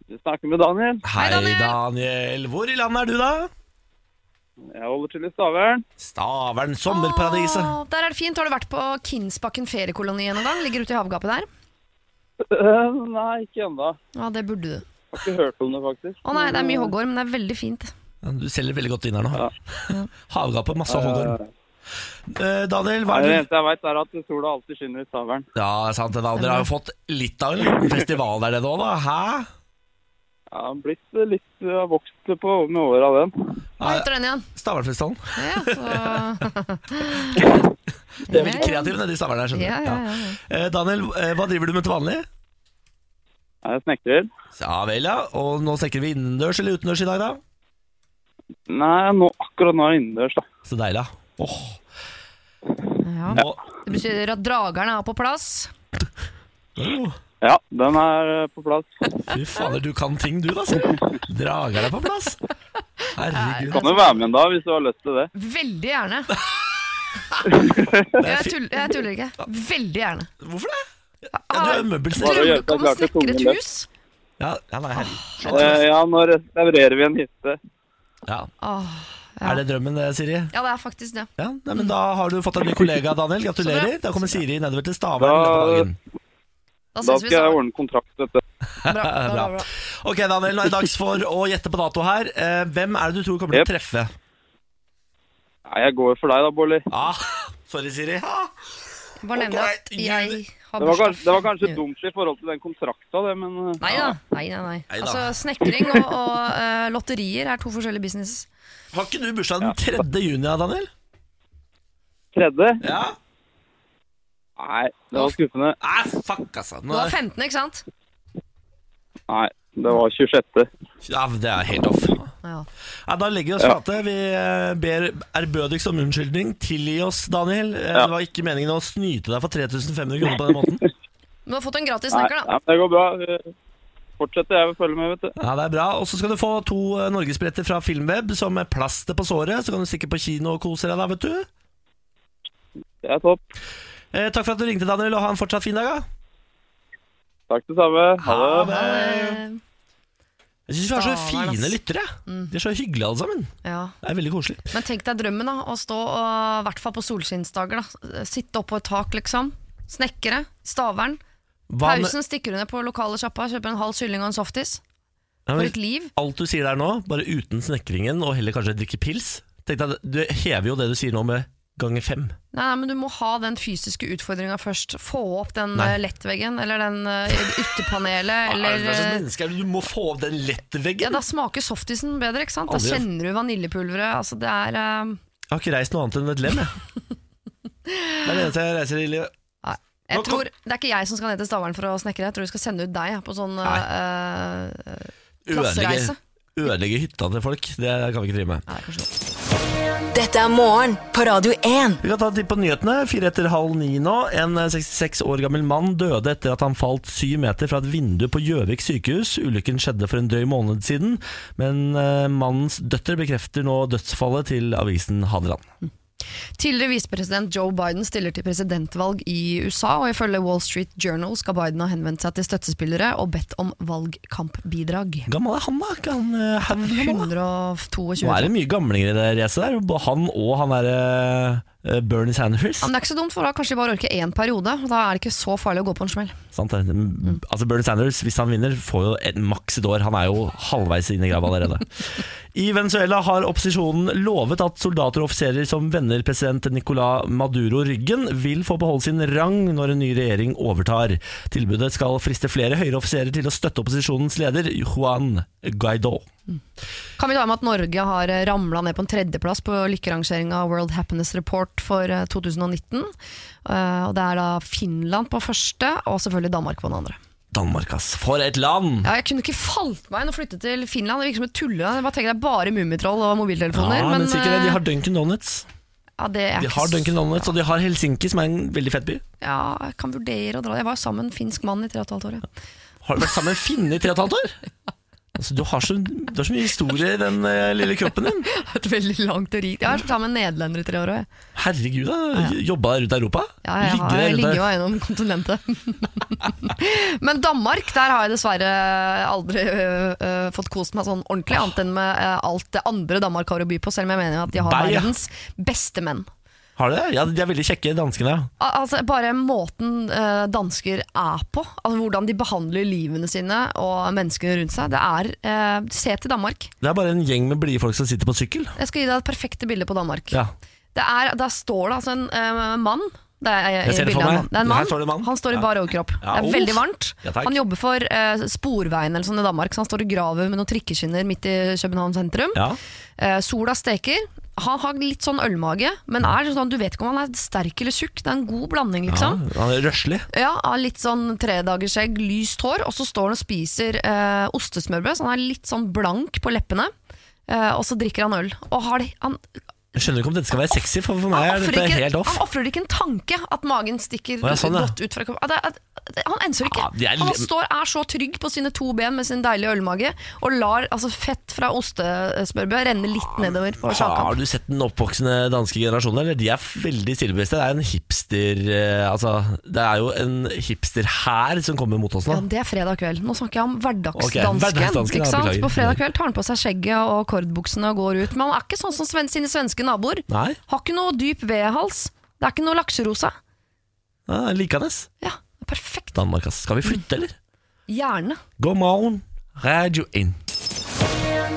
S5: du snakker med Daniel.
S1: Hei,
S2: Daniel.
S1: Daniel. Hvor i landet er du, da?
S5: Jeg holder til i Stavern.
S1: Stavern, sommerparadiset.
S2: Å, der er det fint. Har du vært på Kinsbakken feriekoloni en gang? Ligger ute i havgapet der?
S5: Øh, Nei, ikke ennå.
S2: Ja, det burde du.
S5: Har ikke hørt om det, faktisk.
S2: Å nei, det er mye hoggorm, men det er veldig fint.
S1: Ja, Du selger veldig godt inn her nå.
S5: Ja.
S1: Havgapet, masse hoggorm. Eh, Daniel, hva er
S5: Nei, Det
S1: det?
S5: eneste jeg veit, er at sola alltid skinner i Stavern.
S1: Ja, det er sant. det da. Dere har jo fått litt av en liten festival der nede òg, da. Hæ?
S5: Jeg har blitt eh, litt jeg har vokst på med åra, den.
S2: Hva heter den igjen?
S1: Stavernfestivalen.
S2: Ja, så...
S1: De er veldig kreative nede i Stavern her, skjønner du.
S2: ja, ja, ja.
S1: Ja. Eh, Daniel, eh, hva driver du med til vanlig?
S5: Jeg er snekrer.
S1: Ja vel, ja. Og nå snakker vi innendørs eller utendørs i dag, da?
S5: Nei, nå, akkurat nå er det innendørs, da.
S1: Så deilig. da. Åh,
S2: ja.
S1: nå...
S2: Det betyr at dragerne er på plass.
S1: Åh,
S5: Ja, den er eh, på plass.
S1: Fy fader, du kan ting du, da. sier du. Drager deg på plass. Herregud.
S5: Kan jo være med en dag hvis du har lyst til det.
S2: Veldig gjerne.
S1: Det er
S2: Jeg
S1: fi-
S2: tuller, jeg tuller ikke. Veldig gjerne.
S1: Hvorfor det? Ja, du er
S2: Tror
S1: møbelsnekker.
S5: Bare
S2: du
S5: gjør
S2: ikke om å
S5: deg klar til
S2: snekre et
S5: kongen,
S2: hus?
S1: Ja, ja, nei, herregud.
S5: Eh, Ja, nå restaurerer vi en hytte.
S1: Ja.
S2: Åh, ja.
S1: Er det drømmen, det, Siri?
S2: ja, det er faktisk det.
S1: Ja, nei, men Da har du fått en ny kollega, Daniel.
S2: Så
S1: Gratulerer.
S2: bra.
S1: Da kommer Siri nedover til Stavern. i løpet av
S5: Da,
S1: dagen.
S2: Da
S5: da
S2: ses vi
S5: skal jeg
S2: sammen.
S5: ordne kontrakt, vet du.
S2: Bra, bra, bra, bra.
S1: Ok, Daniel, nå er det dags for å gjette på dato her. Eh, hvem er det du tror kommer til å treffe?
S5: Nei, jeg går for deg da, Bolli.
S1: Ah, sorry, Siri. Ah,
S2: Bare nevne at
S1: Ok,
S2: jeg har
S5: Det var
S2: bursdag.
S5: kanskje, det var kanskje
S2: nå.
S5: dumt i forhold til den kontrakta, det, men eh,
S2: Nei da. Nei, nei, nei.
S1: Nei da.
S2: Altså, snekring og, og eh, lotterier er to forskjellige businesses.
S1: har ikke du bursdag den 3. juni, ja, Daniel?
S5: Tredje?
S1: Ja?
S5: Nei, det var skuffende.
S1: Ah, fuck, altså.
S2: Du
S1: Nå,
S2: var 15, ikke sant?
S5: Nei, det var 26.
S1: ja, det er helt off.
S2: Ja.
S1: Ja, da legger vi oss
S5: Ja.
S1: flate. Vi eh, ber ærbødigst om unnskyldning. Tilgi oss, Daniel. Eh,
S5: Ja.
S1: Det var ikke meningen å snyte deg for 3500 kroner på den måten.
S2: Du har fått en gratis
S5: Nei,
S2: snekker, da.
S5: nei, men det går bra. Eh, Fortsetter jeg å følge med, vet du.
S1: Ja, det er bra. Og så skal du få to eh, norgesbilletter fra Filmweb som er plaster på såret. Så kan du stikke på kino og kose deg da, vet du.
S5: Det er topp.
S1: Eh, takk for at du ringte, Daniel, og ha en fortsatt fin dag. da.
S5: Takk det samme. Ha det.
S1: Ha det.
S2: Eh,
S1: Jeg syns vi har så
S2: Stavern,
S1: fine
S2: ass.
S1: lyttere.
S2: Mm.
S1: De er så hyggelige alle sammen.
S2: Ja.
S1: Det er veldig koselig.
S2: Men tenk deg drømmen, da. Å stå og, i hvert fall på solskinnsdager, da. Sitte oppå et tak, liksom. Snekre. Stavern.
S1: Hva med-
S2: Pausen stikker du ned på lokale sjappa, kjøper en halv kylling og en softis.
S1: Ja,
S2: For
S1: men
S2: et liv.
S1: alt du sier der nå, bare uten snekringen, og heller kanskje drikke pils Tenk deg, Du hever jo det du sier nå med ganger fem.
S2: Nei, nei, men du må ha den fysiske utfordringa først. Få opp den
S1: Nei.
S2: eh, lettveggen, eller den eh,
S1: Hva er
S2: ytterpanelet,
S1: det
S2: eller
S1: for slags
S2: eh,
S1: menneske er det? Du må få opp den lette
S2: ja,
S1: veggen.
S2: Da smaker softisen bedre, ikke sant? Da
S1: Aldri.
S2: kjenner du vaniljepulveret. Altså, det er eh,
S1: Jeg har ikke reist noe annet enn et lem, jeg. Det er det eneste jeg reiser i livet.
S2: Nei.
S1: Nå
S2: Jeg
S1: kom-
S2: tror, det er ikke jeg som skal ned til Stavern for å snekre, jeg tror vi skal sende ut deg ja, på sånn eh, eh, klassereise.
S1: Ødelegge, ødelegge hytta til folk, det kan vi ikke drive med.
S2: Nei, kanskje ikke.
S3: Dette er morgen på Radio 1.
S1: Vi kan ta en titt på nyhetene. Fire etter halv ni nå. En 66 år gammel mann døde etter at han falt syv meter fra et vindu på Gjøvik sykehus. Ulykken skjedde for en drøy måned siden, men eh, mannens døtre bekrefter nå dødsfallet til avisen Hadeland.
S2: Tidligere visepresident Joe Biden stiller til presidentvalg i USA, og ifølge Wall Street Journal skal Biden ha henvendt seg til støttespillere og bedt om valgkampbidrag.
S1: Gammel er han, da? Ikke han eh, haug gammel, da?
S2: 122
S1: Nå er
S2: Men
S1: det mye gamlinger i det racet der. Både Han og han derre eh, Bernie Sanders.
S2: det er ikke så dumt, for da kanskje de bare orker én periode. og Da er det ikke så farlig å gå på en smell.
S1: Sant det? Altså Bernie Sanders, hvis han vinner, får jo et maks et år. Han er jo halvveis inn i grava allerede. I Venezuela har opposisjonen lovet at soldater og offiserer som vender president Nicolás Maduro ryggen, vil få beholde sin rang når en ny regjering overtar. Tilbudet skal friste flere høyere offiserer til å støtte opposisjonens leder, Juan Guaidó.
S2: Kan vi ta med at Norge har ramla ned på en tredjeplass på lykkerangeringa World Happiness Report for eh, 2019. Eh, Og det er da Finland på første, og selvfølgelig Danmark på den andre.
S1: Danmark, ass. For et land!
S2: Ja, jeg kunne ikke falt meg inn å flytte til Finland. Det virker som et tulleland. Jeg bare tenker det er bare mummitroll og mobiltelefoner.
S1: Ja, men sikkert det.
S2: eh,
S1: De har Dunkin' Donuts.
S2: ja, det er
S1: De
S2: ikke
S1: har
S2: så-
S1: Dunkin' Donuts, og de har Helsinki, som er en veldig fett by.
S2: Ja, jeg kan vurdere å dra. Jeg var sammen med en finsk mann i tre og et halvt år. Ja.
S1: Har du vært sammen med en finne i tre og et halvt år? Altså, du, har så, du har så mye historie i den eh, lille kroppen din.
S2: Et veldig langt og rikt Jeg har vært sammen med en nederlender i tre år òg.
S1: Herregud, da. Jobba deg rundt Europa?
S2: Ja, jeg,
S1: Ligger deg
S2: har, jeg
S1: rundt
S2: ligger
S1: der.
S2: jo gjennom kontinentet. Men Danmark, der har jeg dessverre aldri øh, øh, fått kost meg sånn ordentlig, annet enn med øh, alt det andre Danmark har å by på, selv om jeg mener at de har
S1: Beia.
S2: verdens beste menn.
S1: Har du det? Ja, de er veldig kjekke, danskene.
S2: Al- Altså, bare måten øh, dansker er på, altså hvordan de behandler livene sine og menneskene rundt seg, det er øh, Se til Danmark.
S1: Det er bare en gjeng med blide folk som sitter på sykkel.
S2: Jeg skal gi deg et perfekte bilde på Danmark.
S1: Ja.
S2: Det er, der står det altså en øh, mann. Det er,
S1: Jeg ser det for
S2: bildet av
S1: meg.
S2: en mann. Det er en
S1: Her
S2: mann.
S1: står det en mann.
S2: Han står i
S1: Ja.
S2: bar overkropp.
S1: Ja,
S2: det er
S1: uff.
S2: veldig varmt.
S1: Ja, takk.
S2: han jobber for eh, Sporveien eller sånn i Danmark, så han står og graver med noen trikkeskinner midt i København sentrum.
S1: Ja.
S2: Eh, sola steker. Han har litt sånn ølmage, men er sånn, du vet ikke om han er sterk eller tjukk. Det er en god blanding,
S1: Ja,
S2: liksom.
S1: han er røslig.
S2: Ja, har Litt sånn tredagersskjegg, lyst hår, og så står han og spiser eh, ostesmørbrød, så han er litt sånn blank på leppene. Eh, og så drikker han øl. Og har det, han
S1: Jeg skjønner ikke om dette skal være sexy, for for meg er
S2: han ofrer
S1: dette
S2: ikke-
S1: helt off.
S2: Han ofrer ikke en tanke at magen stikker
S1: Å, ja, sånn, ja.
S2: godt ut fra kroppen. Ja, det er- det- Han enser ikke.
S1: Ja, det er-
S2: Han står, er så trygg på sine to ben med sin deilige ølmage og lar altså, fett fra ostesmørbrød renne litt nedover på
S1: Har
S2: sjakan.
S1: du sett den oppvoksende danske generasjonen? Eller? De er veldig stillbevisste. Det er en hipster eh, Altså, det er jo en hipsterhær som kommer mot oss nå.
S2: Ja, det er fredag kveld. Nå snakker jeg om
S1: Ok,
S2: hverdagsdansken.
S1: hverdagsdansken, ja,
S2: ikke sant?
S1: beklager.
S2: På fredag kveld tar han på seg skjegget og kordbuksene og går ut. Men han er ikke sånn som sven sine svenske naboer.
S1: Nei,
S2: Har ikke noe dyp V-hals. Det er ikke noe lakserosa.
S1: ja, likende.
S2: Ja, perfekt.
S1: Danmark, ass. Skal vi flytte, eller?
S2: Gjerne.
S1: God morgen, radio inn.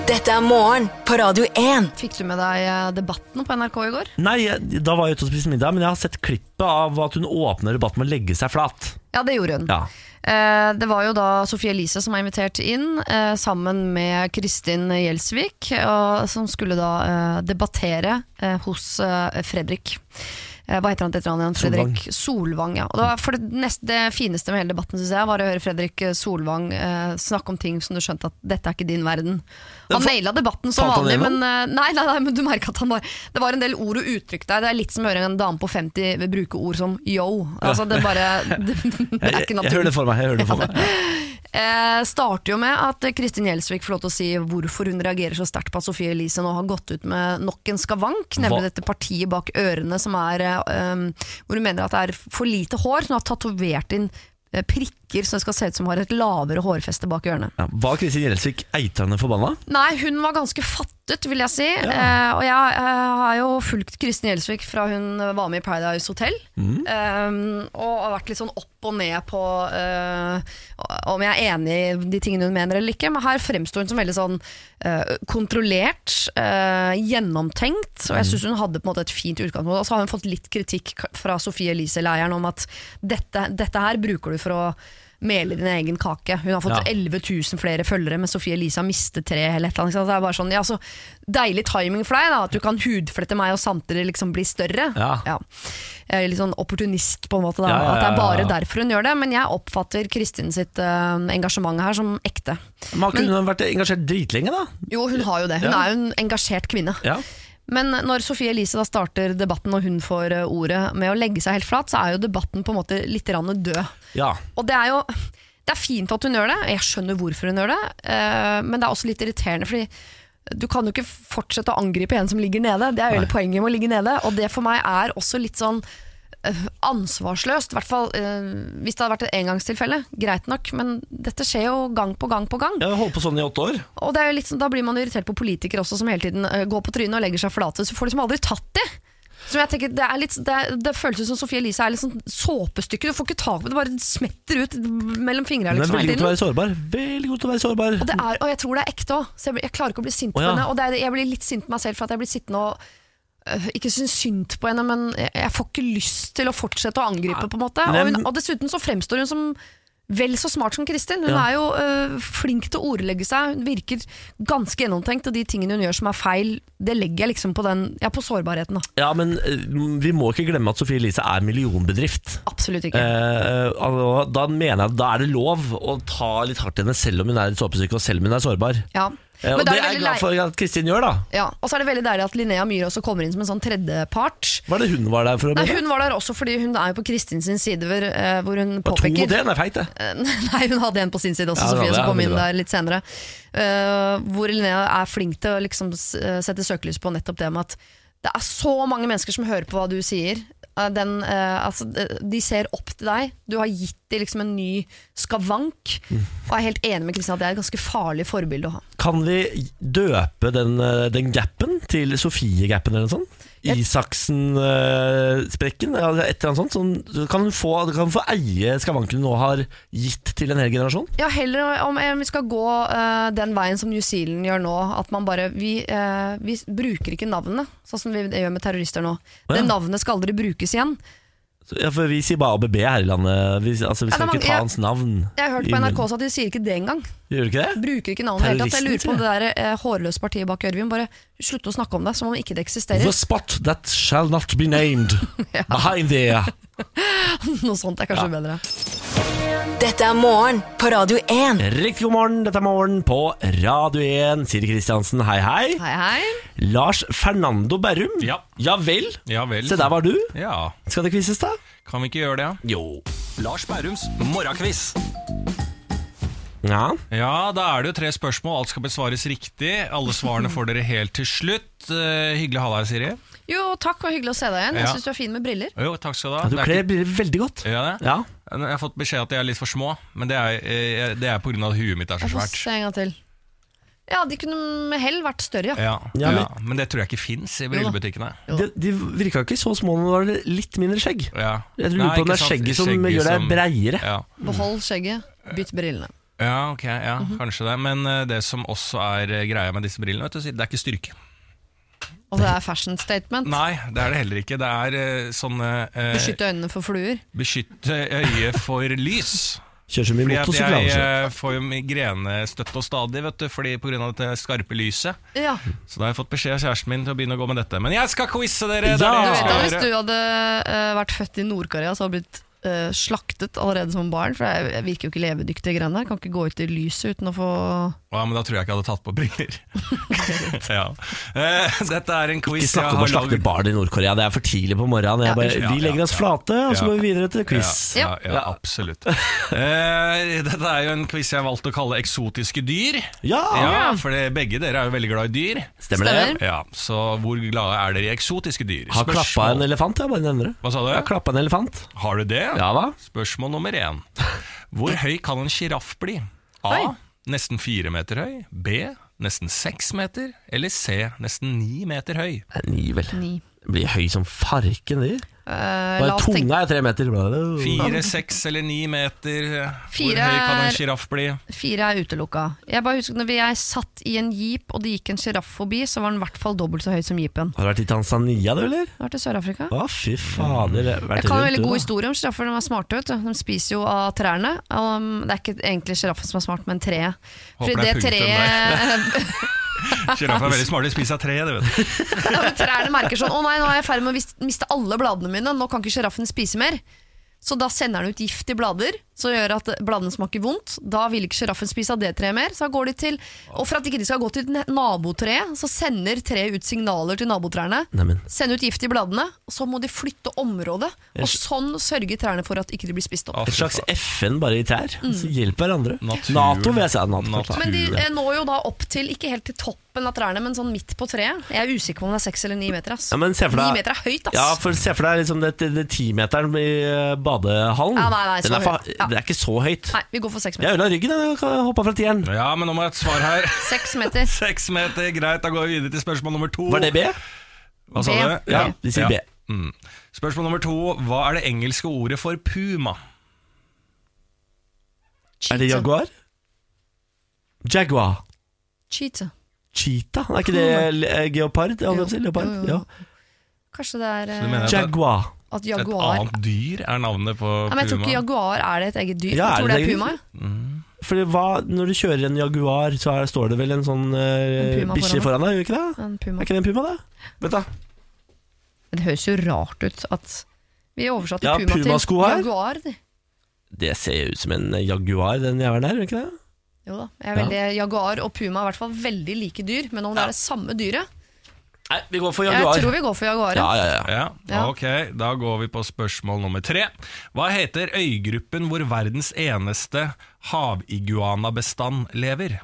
S3: Dette er morgen på Radio 1.
S2: Fikk du med deg eh, debatten på NRK i går?
S1: Nei, jeg- da var jeg ute og spiste middag, men jeg har sett klippet av at hun åpner debatten med å legge seg flat.
S2: Ja, det gjorde hun.
S1: Ja.
S2: Eh, Det var jo da Sofie Elise som er invitert inn, eh, sammen med Kristin Gjelsvik, og som skulle da eh, debattere eh, hos eh, Fredrik. Eh, Hva heter han til etternavn igjen? Fredrik Solvang. ja. Og det, var for det, neste, det fineste med hele debatten synes jeg, var å høre Fredrik eh, Solvang eh, snakke om ting som du skjønte at dette er ikke din verden. Han
S1: fa-
S2: naila debatten som
S1: falt han
S2: vanlig,
S1: gjennom?
S2: men, eh, nei, nei, nei, men du merker at han var Det var en del ord og uttrykk der. Det er litt som å høre en dame på 50 bruke ord som yo. Altså, det bare Det, det
S1: Jeg,
S2: er
S1: jeg, jeg
S2: ikke
S1: hører det
S2: naturlig.
S1: for meg. Jeg hører det for meg.
S2: Eh, starter jo med at Kristin Gjelsvik får lov til å si hvorfor hun reagerer så sterkt på at Sofie Elise nå har gått ut med nok en skavank, nemlig
S1: Hva-
S2: dette partiet bak ørene som er eh, um, Hvor hun mener at det er for lite hår. så Hun har tatovert inn eh, prikker så det skal se ut som hun har et lavere hårfeste bak ørene.
S1: Ja, var Kristin Gjelsvik eitrende forbanna?
S2: Nei, hun var ganske fattet, vil jeg si. Eh, og jeg eh, har jo fulgt Kristin Gjelsvik fra hun var med i Paradise Hotel. Eh, og har vært litt sånn opp og ned på eh, om jeg er enig i de tingene hun mener eller ikke. Men her fremsto hun som veldig sånn eh, kontrollert, eh, gjennomtenkt. Og jeg syns hun hadde på en måte et fint utgangspunkt. Og så har hun fått litt kritikk k- fra Sofie Elise-leiren om at dette, dette her bruker du for å mele din egen kake. Hun har fått
S1: Ja.
S2: 11 000 flere følgere, men Sofie Elise har mistet tre. Eller et eller annet, ikke sant? det er bare sånn, ja, så Deilig timing for deg, da, at du kan hudflette meg og samtidig liksom bli større.
S1: Ja.
S2: Jeg er Litt sånn opportunist, på en måte. Da,
S1: Ja, ja, ja,
S2: At det er
S1: ja,
S2: bare
S1: ja.
S2: derfor hun gjør det. Men jeg oppfatter Kristin sitt eh, engasjement her som ekte.
S1: Men har ikke hun vært engasjert dritlenge, da?
S2: Jo, hun har jo det. Hun
S1: Ja.
S2: er jo en engasjert kvinne.
S1: Ja.
S2: Men når Sofie Elise da starter debatten og hun får eh, ordet med å legge seg helt flat, så er jo debatten på en måte litt grann død.
S1: ja.
S2: Og det er jo det er fint at hun gjør det, og jeg skjønner hvorfor hun gjør det, eh, men det er også litt irriterende, fordi du kan jo ikke fortsette å angripe en som ligger nede. Det er jo hele poenget med å ligge nede, og det for meg er også litt sånn eh, ansvarsløst. I hvert fall eh, hvis det hadde vært et engangstilfelle. Greit nok, men dette skjer jo gang på gang på gang.
S1: Jeg har holdt på sånn i åtte år.
S2: Og det er jo litt sånn, Da blir man irritert på politikere også, som hele tiden eh, går på trynet og legger seg flate. Så får de som aldri tatt de. Så jeg tenker, det, er litt, det, er, det føles ut som Sofie Elise er litt sånn såpestykke. Du får ikke tak på det, det bare smetter ut mellom fingrene.
S1: Hun er
S2: Liksom,
S1: veldig
S2: hele
S1: god til å
S2: tiden.
S1: være sårbar. Veldig god til å være sårbar.
S2: Og, det er, og jeg tror det er ekte òg, så jeg, blir- jeg klarer ikke å bli sint
S1: Å,
S2: på
S1: ja.
S2: henne. Og det er, jeg blir litt sint på meg selv for at jeg blir sittende og øh, ikke synes synd på henne, men jeg, jeg får ikke lyst til å fortsette å angripe, på en måte.
S1: Men
S2: Og,
S1: jeg-
S2: hun, og dessuten så fremstår hun som vel så smart som Kristin. Hun
S1: Ja.
S2: er jo øh, flink til å ordlegge seg. Hun virker ganske gjennomtenkt, og de tingene hun gjør som er feil, det legger jeg liksom på den Ja, på sårbarheten, da.
S1: Ja, men eh, vi må ikke glemme at Sofie Elise er millionbedrift.
S2: Absolutt ikke.
S1: Eh, og da mener jeg at da er det lov å ta litt hardt i henne selv om hun er litt såpesyk og selv om hun er sårbar.
S2: Ja.
S1: Eh, og det
S2: da
S1: er
S2: veldig
S1: jeg
S2: lei-
S1: glad for at Kristin gjør, da.
S2: Ja, og så er det veldig deilig at Linnea Myhre også kommer inn som en sånn tredjepart.
S1: Hva er det hun var der for å
S2: Nei,
S1: møte?
S2: hun var der også fordi hun er jo på Kristin sin side, hvor, eh, hvor hun
S1: To mot
S2: påpeker
S1: én er feit, det.
S2: Eh, Nei, hun hadde en på sin side også,
S1: Ja, hun
S2: Sofie,
S1: hadde,
S2: som
S1: ja,
S2: kom
S1: veldig
S2: inn
S1: bra.
S2: der litt senere. Eh, hvor Linnea er flink til å liksom s- eh, sette søkelys på nettopp det med at det er så mange mennesker som hører på hva du sier. Eh, Den, eh, altså, de- de ser opp til deg. Du har gitt dem liksom en ny skavank.
S1: Mm.
S2: Og jeg er helt enig med Kristin at det er et ganske farlig forbilde å ha.
S1: Kan vi døpe den, eh, den gappen til Sofie-gappen eller noe sånt?
S2: Jeg-
S1: Isaksen-sprekken? eller et eller annet sånt. Sånn, så kan, hun få, kan hun få eie skavanken hun nå har gitt til en hel generasjon?
S2: Ja, heller om eh, vi skal gå eh, den veien som New Zealand gjør nå. At man bare Vi, eh, vi bruker ikke navnet, sånn som vi gjør med terrorister nå.
S1: Å,
S2: Det
S1: ja.
S2: navnet skal aldri brukes igjen.
S1: Så- Ja, for vi sier bare ABB her i landet. Vi, altså, vi
S2: Ja,
S1: skal
S2: det er
S1: ikke
S2: mange-
S1: ta hans navn.
S2: Jeg har hørt
S1: i
S2: på
S1: munnen.
S2: NRK også at de sier ikke det engang.
S1: Gjør du ikke det?
S2: Bruker ikke navnet. i det hele tatt. Jeg lurer på
S1: Terroristen,
S2: om det der eh, hårløse partiet bak Ørvin bare slutte å snakke om det som om ikke det eksisterer.
S1: The spot that shall not be named behind there.
S2: Noe sånt er kanskje bedre.
S3: Dette er morgen på Radio 1.
S1: Riktig god morgen, dette er morgen på Radio 1. Siri Kristiansen, hei hei.
S2: Hei, hei.
S1: Lars Fernando Berrum.
S6: Ja.
S1: ja vel.
S6: Ja vel.
S1: Se, der var du.
S6: Ja,
S1: Skal det quizzes, da?
S6: kan vi ikke gjøre det? ja?
S1: Jo.
S7: Lars Bærums morgenkviss.
S1: Ja.
S6: Ja, da er det jo tre spørsmål. Alt skal besvares riktig. Alle svarene får dere helt til slutt. Eh, hyggelig å ha deg, Siri.
S2: Jo, takk, og hyggelig å se deg igjen. Jeg
S6: Ja.
S2: syns du er fin med briller.
S6: Jo, takk skal du ha.
S1: Ja, Du
S6: Det er
S1: kler
S6: ikke-
S1: briller veldig godt.
S6: Gjør jeg det?
S1: Ja.
S6: Jeg har fått beskjed at de er litt for små, men det er, eh, det er på grunn av at huet mitt er så
S2: Jeg får
S6: svært.
S2: se en gang til. Ja, de kunne med hell vært større, ja.
S6: Ja,
S1: Ja,
S6: ja,
S1: men-
S6: Men det tror jeg ikke fins i
S2: da.
S6: brillebutikkene.
S2: Jo.
S1: De, de virka ikke så små, men det var litt mindre skjegg.
S6: Ja.
S1: Jeg lurer
S6: Nei,
S1: på om
S6: ikke
S1: det er
S6: sant?
S1: skjegget som gjør deg
S6: som-
S1: breiere.
S6: Ja.
S2: Behold skjegget, bytt brillene.
S6: ja, ok, ja,
S2: Mhm.
S6: kanskje det. Men eh, det som også er eh, greia med disse brillene, vet du, det er ikke styrke.
S2: Og det er fashion statement.
S6: Nei, det er det heller ikke. Det er eh, sånne eh,
S2: Beskytte øynene for fluer.
S6: beskytte øyet for lys.
S1: Kjør så mye
S6: Fordi at jeg
S1: motorsykkel.
S6: eh, får jo migrenestøtte og stadig vet du, fordi på grunn av dette skarpe lyset.
S2: Ja,
S6: Så da har jeg fått beskjed av kjæresten min til å begynne å gå med dette. Men jeg skal quize dere!
S1: Ja!
S6: Det
S2: du
S6: er det
S2: vet at
S6: jeg skal
S2: Hvis
S6: gjøre.
S2: du hadde eh, vært født i Nord-Korea, så hadde du blitt eh, slaktet allerede som barn. For jeg, jeg virker jo ikke levedyktig. greiene der. Kan ikke gå ut i lyset uten å få
S6: Ja, men da tror jeg ikke jeg hadde tatt på briller. ja. Eh, dette er en quiz
S1: Ikke snakke om å slakte barn i Nord-Korea. Det er for tidlig på morgenen. Jeg
S2: Ja,
S1: bare,
S6: unnskyld.
S1: vi
S6: Ja, ja,
S1: legger oss
S6: ja.
S1: flate, og så
S6: Ja.
S1: går vi videre til quiz.
S6: Ja, ja, ja, absolutt. Eh, dette er jo en quiz jeg har valgt å kalle 'Eksotiske dyr'.
S1: Ja,
S6: Ja, For det- begge dere er jo veldig glad i dyr.
S1: stemmer det.
S2: Stemmer.
S6: Ja, Så hvor glade er dere i eksotiske dyr?
S1: Har klappa en
S6: Spørsmål-
S1: elefant, jeg bare nevner det.
S6: Hva sa du?
S1: Har klappa en elefant.
S6: Har du det?
S1: Ja hva?
S6: Spørsmål nummer én. Hvor høy kan en sjiraff bli?
S2: Oi.
S6: A. Nesten fire meter høy. B. Nesten seks meter. Eller C. Nesten ni meter høy.
S1: Det er Ni, vel.
S2: ni.
S1: Blir høy som farken, de.
S2: Eh, la
S1: Bare
S2: oss tenke
S1: tunga er tre meter.
S6: Fire, seks eller ni meter.
S2: Uh. Fire
S6: Hvor høy kan
S2: er-
S6: en sjiraff bli?
S2: Fire er utelukka. Jeg bare husker når vi- jeg satt i en jeep, og det gikk en sjiraff forbi, så var den i hvert fall dobbelt så høy som jeepen.
S1: Har du vært i Tanzania, du, eller? Mm.
S2: Har du vært i Sør-Afrika?
S1: Å, fy fader.
S2: Jeg kan veldig god historie om sjiraffer. De er smarte. vet du. De spiser jo av trærne. Um, det er ikke egentlig sjiraffen som er smart, men treet.
S6: Håper det er punktum Sjiraff er veldig smart, de spiser av tre. Det vet du.
S2: Ja, men trærne merker sånn Å nei, nå er jeg i ferd med å vis- miste alle bladene mine Nå kan ikke sjiraffen spise mer Så da sender den ut gift i blader Som gjør at bladene smaker vondt Da vil ikke sjiraffen spise av det treet mer Så da går de til Og for at ikke de skal gå til ne- nabotreet Så sender treet ut signaler til nabotrærne
S1: Neimen.
S2: Sender ut gift i bladene Og så må de flytte området Og sånn sørger trærne for at ikke de blir spist opp
S6: Å,
S1: Et
S6: fy
S1: slags
S6: faen.
S1: FN bare i trær. Så hjelp hverandre.
S6: Naturen.
S1: Nato, vil jeg si. Ja, NATO, klart.
S6: Natur.
S2: Mm. men de eh, når jo da opp til, ikke helt til toppen av trærne Men sånn midt på treet Jeg er usikker på om det er 6 eller 9 meter ass.
S1: Ja, men se for deg-
S2: 9 meter er høyt ass
S1: Ja, for se for deg liksom det, det, det timeteren i eh, badehallen.
S2: Ja, nei, nei,
S1: Den
S2: så
S1: er fa-
S2: høyt. Ja.
S1: Det er ikke så høyt.
S2: Nei, vi går for 6 meter
S1: Jeg ødela ryggen da jeg hoppa fra tieren.
S6: Ja, men nå må jeg ha et svar her.
S2: Seks meter.
S6: Seks meter, greit. Da går vi videre til spørsmål nummer to.
S1: Var det B?
S6: Hva sa
S2: B.
S6: du?
S1: Ja, de sier B.
S6: Mm. Spørsmål nummer to. Hva er det engelske ordet for puma?
S1: Er det Jaguar? Jaguar.
S2: Cheetah.
S1: Cheetah? Er ikke det le- eh, geopard? Ja,
S2: Hmm. Jo.
S1: hva sier leopard?
S2: Jo, jo.
S1: Ja.
S2: Kanskje det er
S6: du
S2: eh,
S6: mener at-
S1: Jaguar.
S2: At
S6: Et
S2: jaguar
S6: annet dyr er navnet på
S2: Nei, men Jeg tror ikke
S6: puma.
S2: jaguar er det et eget dyr.
S1: Ja,
S2: jeg
S1: er
S2: tror
S1: det et
S2: det er
S1: eget
S2: puma.
S1: dyr? Fordi hva, Når du kjører en Jaguar, så er, står det vel en sånn eh,
S2: En puma
S1: bikkje foran
S2: foran
S1: deg? Gjør ikke det?
S2: En puma.
S1: Er ikke det en puma, da? Vent, da.
S2: Men Det høres jo rart ut at vi oversatte
S1: Ja,
S2: puma
S1: pumasko
S2: til
S1: her.
S2: jaguar. de.
S1: Det ser jo ut som en Jaguar, den jævelen der, gjør ikke det?
S2: Jo da, jeg er veldig, Jaguar og puma er i hvert fall veldig like dyr, men om det er det samme dyret
S1: Nei, vi går for
S2: Jeg
S1: Jaguar.
S2: tror vi går for jaguaren.
S1: ja, ja, ja.
S6: Ja,
S2: Ja.
S6: ok, Da går vi på spørsmål nummer tre. Hva heter øygruppen hvor verdens eneste haviguanabestand lever?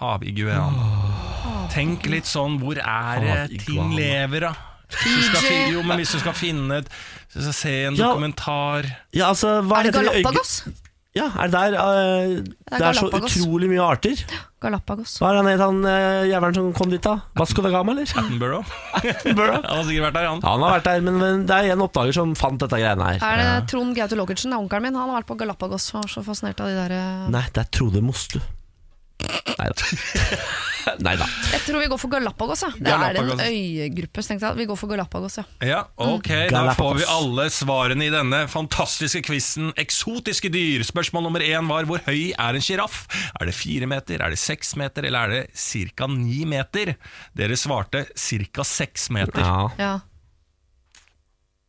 S6: Haviguana. Tenk litt sånn, hvor er det ting
S1: Haviguana.
S6: lever, da? Hvis du skal
S2: Fiji.
S6: fin- Jo, men hvis du skal finne et så så Se en
S1: Ja.
S6: dokumentar
S1: ja altså, hva
S2: Er det
S1: heter øy-
S2: Galapagos?
S1: Ja, er det der eh, Det er så
S2: Galapagos.
S1: utrolig mye arter.
S2: Galapagos.
S1: Hva er han het, han eh, jævelen som kom dit, da? Vasco da Gama, eller?
S6: Attenborough.
S1: Attenborough.
S6: Han har sikkert vært der, han.
S1: Han har vært der, men, men det er en oppdager som fant dette greiene her.
S2: Er det Trond Gaute Lokertsen, onkelen min? Han har vært på Galapagos og var så fascinert av de der eh,
S1: Nei, det er Trode Mostu. Nei da. Nei da.
S2: Jeg tror vi går for Galapagos, ja. Det er en
S6: Galapagos.
S2: øyegruppe, så tenkte jeg. at Vi går for Galapagos, ja.
S6: Ja, ok, Da
S1: Galapagos.
S6: får vi alle svarene i denne fantastiske quizen Eksotiske dyr. Spørsmål nummer én var hvor høy er en sjiraff? Er det fire meter, er det seks meter, eller er det ca. ni meter? Dere svarte ca. seks meter.
S1: Ja.
S2: ja.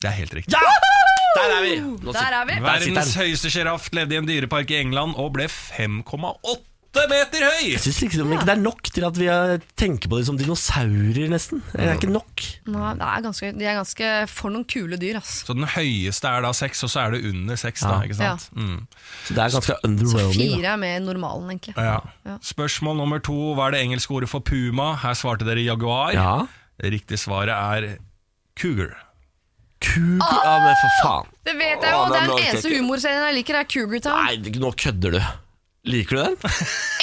S6: Det er helt riktig.
S1: ja! Der er vi! Nå
S2: Der er vi.
S6: Verdens høyeste sjiraff levde i en dyrepark i England og ble 5,8 meter høy!
S1: Jeg syns liksom ikke det er nok til at vi eh, tenker på dem som dinosaurer, nesten. Det er ikke nok.
S2: Nei, det er ganske, de er ganske for noen kule dyr, ass.
S6: Så den høyeste er da seks, og så er det under seks, da.
S1: Ja.
S6: ikke sant? Mm.
S1: Så det er ganske
S2: Så
S1: underwhelming. Da.
S2: fire er mer normalen, egentlig.
S6: Ja.
S2: Ja.
S6: Spørsmål nummer to. Hva er det engelske ordet for puma? Her svarte dere jaguar.
S1: Ja.
S6: Riktig svaret er cougar.
S1: Kuk
S2: Ah!
S1: Ja, men for faen.
S2: Det vet jeg jo!
S1: Åh,
S2: Det
S1: den
S2: er
S1: var
S2: den eneste
S1: kjekk.
S2: humorserien jeg liker, det er Cougar Town.
S1: Nei, nå kødder du. Liker du den?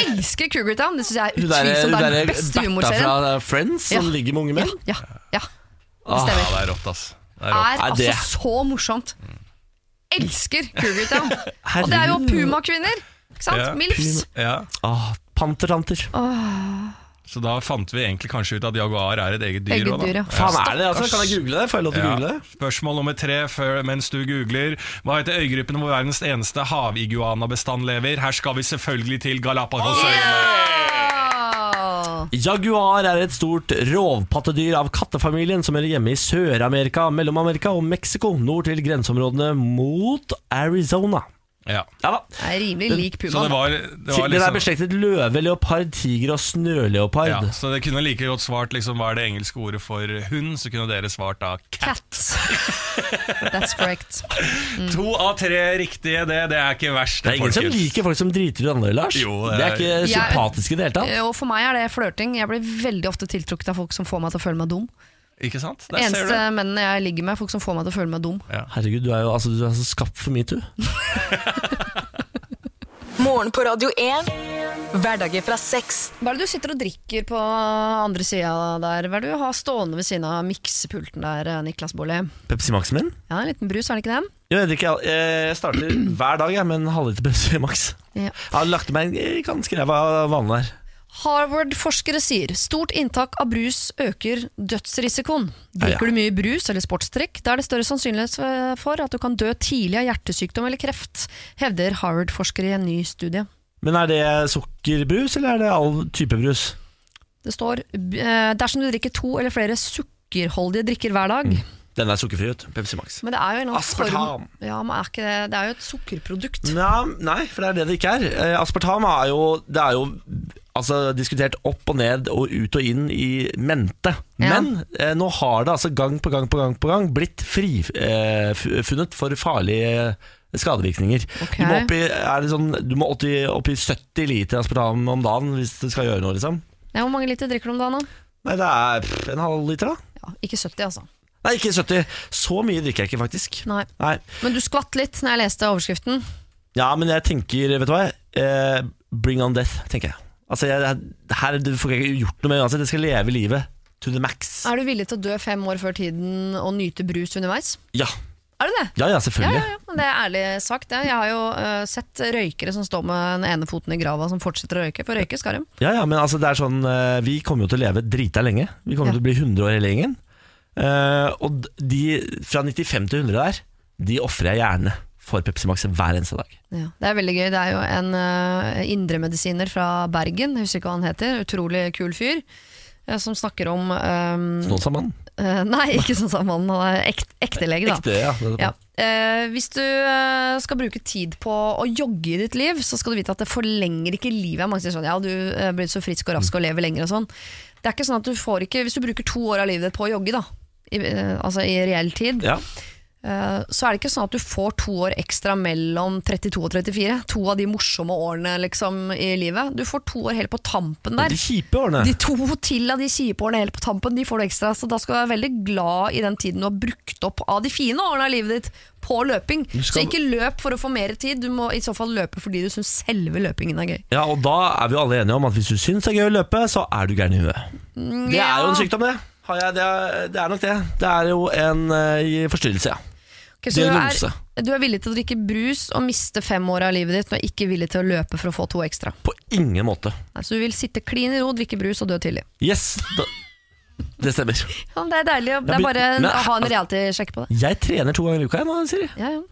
S2: elsker Cougar Town. Det syns jeg er
S1: Hun derre
S2: utvilsomt det er den beste
S1: Bertha fra eh,
S2: humorserien.
S1: Friends som
S2: Ja.
S1: ligger med unge
S2: Ja,
S1: menn?
S2: ja, ja. Det
S1: Åh,
S6: Ja,
S2: stemmer.
S6: det er rått, ass. Det er rått.
S2: Er
S1: Nei,
S2: altså
S1: det-
S2: så morsomt. Elsker Cougar Town. Og det er jo pumakvinner. Ikke sant?
S6: Ja,
S2: Milfs.
S6: Ja.
S1: Åh, Ah, Pantertanter.
S6: Så da fant vi egentlig kanskje ut at jaguar er et eget dyr.
S2: Eget
S6: også, da.
S2: dyr, ja.
S1: Faen er det altså? Kan jeg google det? Får jeg lov til å google
S6: Ja.
S1: det?
S6: Spørsmål nummer tre før, mens du googler. Hva heter øygruppen hvor verdens eneste haviguanabestand lever? Her skal vi selvfølgelig til
S2: Oh,
S6: Galapagosøyene.
S2: Åh.
S1: Jaguar er et stort rovpattedyr av kattefamilien som hører hjemme i Sør-Amerika, Mellom-Amerika og Mexico, nord til grenseområdene mot Arizona.
S6: Ja.
S1: Ja da.
S2: Jeg er rimelig lik
S6: Så
S2: pumaen.
S6: det var, det var
S1: Den er
S6: liksom
S1: beslektet løve, leopard, tiger og snøleopard.
S6: ja, så det kunne like godt svart liksom, hva er det engelske ordet for hund, så kunne dere svart da cat.
S2: Cat. That's correct. Mm.
S6: To av tre riktige, det, det er ikke verst.
S1: Det er ingen som
S6: folkens.
S1: liker folk som driter i andre, Lars.
S6: Jo,
S1: det,
S6: det
S1: er...
S6: er-
S1: ikke
S2: Jeg-
S1: sympatiske i det hele tatt.
S2: Og for meg er det flørting. Jeg blir veldig ofte tiltrukket av folk som får meg til å føle meg dum.
S6: Ikke sant? Der ser du.
S2: Eneste mennene jeg ligger med, er folk som får meg til å føle meg dum.
S1: Herregud, du er jo altså, du er så skapt for metoo.
S3: Morgen på Radio 1. Hverdager fra seks.
S2: Hva er det du sitter og drikker på andre sida der? Hva er det du har stående ved siden av miksepulten der, eh, Niklas Baarli?
S1: Pepsi Max min?
S2: Ja, en liten brus, er det ikke det?
S1: Jo, Jeg, drikker al- eh, jeg starter hver dag jeg, med en halvliter Pepsi Max.
S2: Ja.
S1: Jeg har lagt meg en ganske ræva vane der.
S2: Harvard-forskere sier stort inntak av brus øker dødsrisikoen. Drikker du mye brus eller sportsdrikk, da er det større sannsynlighet for at du kan dø tidlig av hjertesykdom eller kreft, hevder Harvard-forskere i en ny studie.
S1: Men er det sukkerbrus, eller er det all type brus?
S2: Det står eh, dersom du drikker to eller flere sukkerholdige drikker hver dag,
S1: Den er sukkerfri, vet du. Pepsi Max.
S2: men det er jo en eller annen
S1: Aspartam. Mm.
S2: form Ja, men er ikke det, det er jo et sukkerprodukt.
S1: Nja, nei, for det er det det ikke er. Eh, Aspartam er jo, det er jo altså, diskutert opp og ned og ut og inn i mente.
S2: Ja.
S1: Men eh, nå har det altså gang på gang på gang på gang blitt frifunnet eh, fu- funnet for farlige eh, skadevirkninger.
S2: Ok.
S1: Du må opp i, er det sånn, du må 80, opp i 70 liter aspartam om dagen hvis du skal gjøre noe, liksom.
S2: Nei, hvor mange liter drikker du om dagen? da?
S1: Nei, det er pff, en halv liter, da.
S2: Ja, ikke 70, altså.
S1: Nei, ikke 70. Så mye drikker jeg ikke, faktisk.
S2: Nei.
S1: Nei.
S2: Men du skvatt litt når jeg leste overskriften.
S1: Ja, men jeg tenker, vet du hva eh, Bring on death, tenker jeg Altså, jeg, jeg- her det får jeg ikke gjort noe med uansett Jeg skal leve livet to the max
S2: Er du villig til å dø fem år før tiden og nyte brus underveis?
S1: Ja,
S2: Er du det?
S1: ja, ja
S2: Ja,
S1: selvfølgelig
S2: ja, ja. men Det er ærlig sagt. det. Jeg har jo eh, sett røykere som står med den ene foten i grava, som fortsetter å røyke. For røyke skal de.
S1: Ja, ja, men altså, det er sånn eh, Vi kommer jo til å leve drita lenge Vi kommer
S2: Ja.
S1: til å bli 100 år hele gjengen Eh, og d- de fra 95 til 100 der, de ofrer jeg gjerne for Pepsi Max hver eneste dag.
S2: Ja, det er veldig gøy. Det er jo en eh, indremedisiner fra Bergen, jeg husker ikke hva han heter, utrolig kul fyr, eh, som snakker om eh,
S1: Noen sa mann.
S2: eh, Nei, ikke sånn som han, han er ek, ekte lege, da.
S1: Ekte, ja. nettopp.
S2: Ja. Eh, hvis du eh, skal bruke tid på å jogge i ditt liv, så skal du vite at det forlenger ikke livet. Mange sier sånn, ja, du eh, blir så frisk og rask og lever lenger og sånn. Det er ikke sånn at du får ikke, Hvis du bruker to år av livet ditt på å jogge, da, i, eh, altså i reell tid,
S1: Ja.
S2: eh, så er det ikke sånn at du får to år ekstra mellom 32 og 34. To av de morsomme årene liksom, i livet. Du får to år helt på tampen der.
S1: De kjipe årene.
S2: De to til av de kjipe årene helt på tampen, de får du ekstra. Så da skal du være veldig glad i den tiden du har brukt opp av de fine årene av livet ditt på løping. Så
S1: skal-
S2: ikke løp for å få mer tid, du må i så fall løpe fordi du syns selve løpingen er gøy.
S1: Ja, og da er vi jo alle enige om at hvis du syns det er gøy å løpe, så er du gæren i huet. Det er jo en sykdom, det. Har jeg, det, er, det er nok det. Det er jo en eh, forstyrrelse, ja.
S2: Ok, så du,
S1: diagnose.
S2: er, du er villig til å drikke brus og miste fem år av livet ditt, men ikke villig til å løpe for å få to ekstra.
S1: På ingen måte.
S2: Nei, Så du vil sitte klin i ro, drikke brus og dø tidlig.
S1: Yes, da, det stemmer.
S2: Ja, men det er deilig. å- Det
S1: men-
S2: er bare en,
S1: men-
S2: å ha en reality-sjekk på det.
S1: Jeg trener to ganger i uka, jeg nå, Siri.
S2: Ja, ja.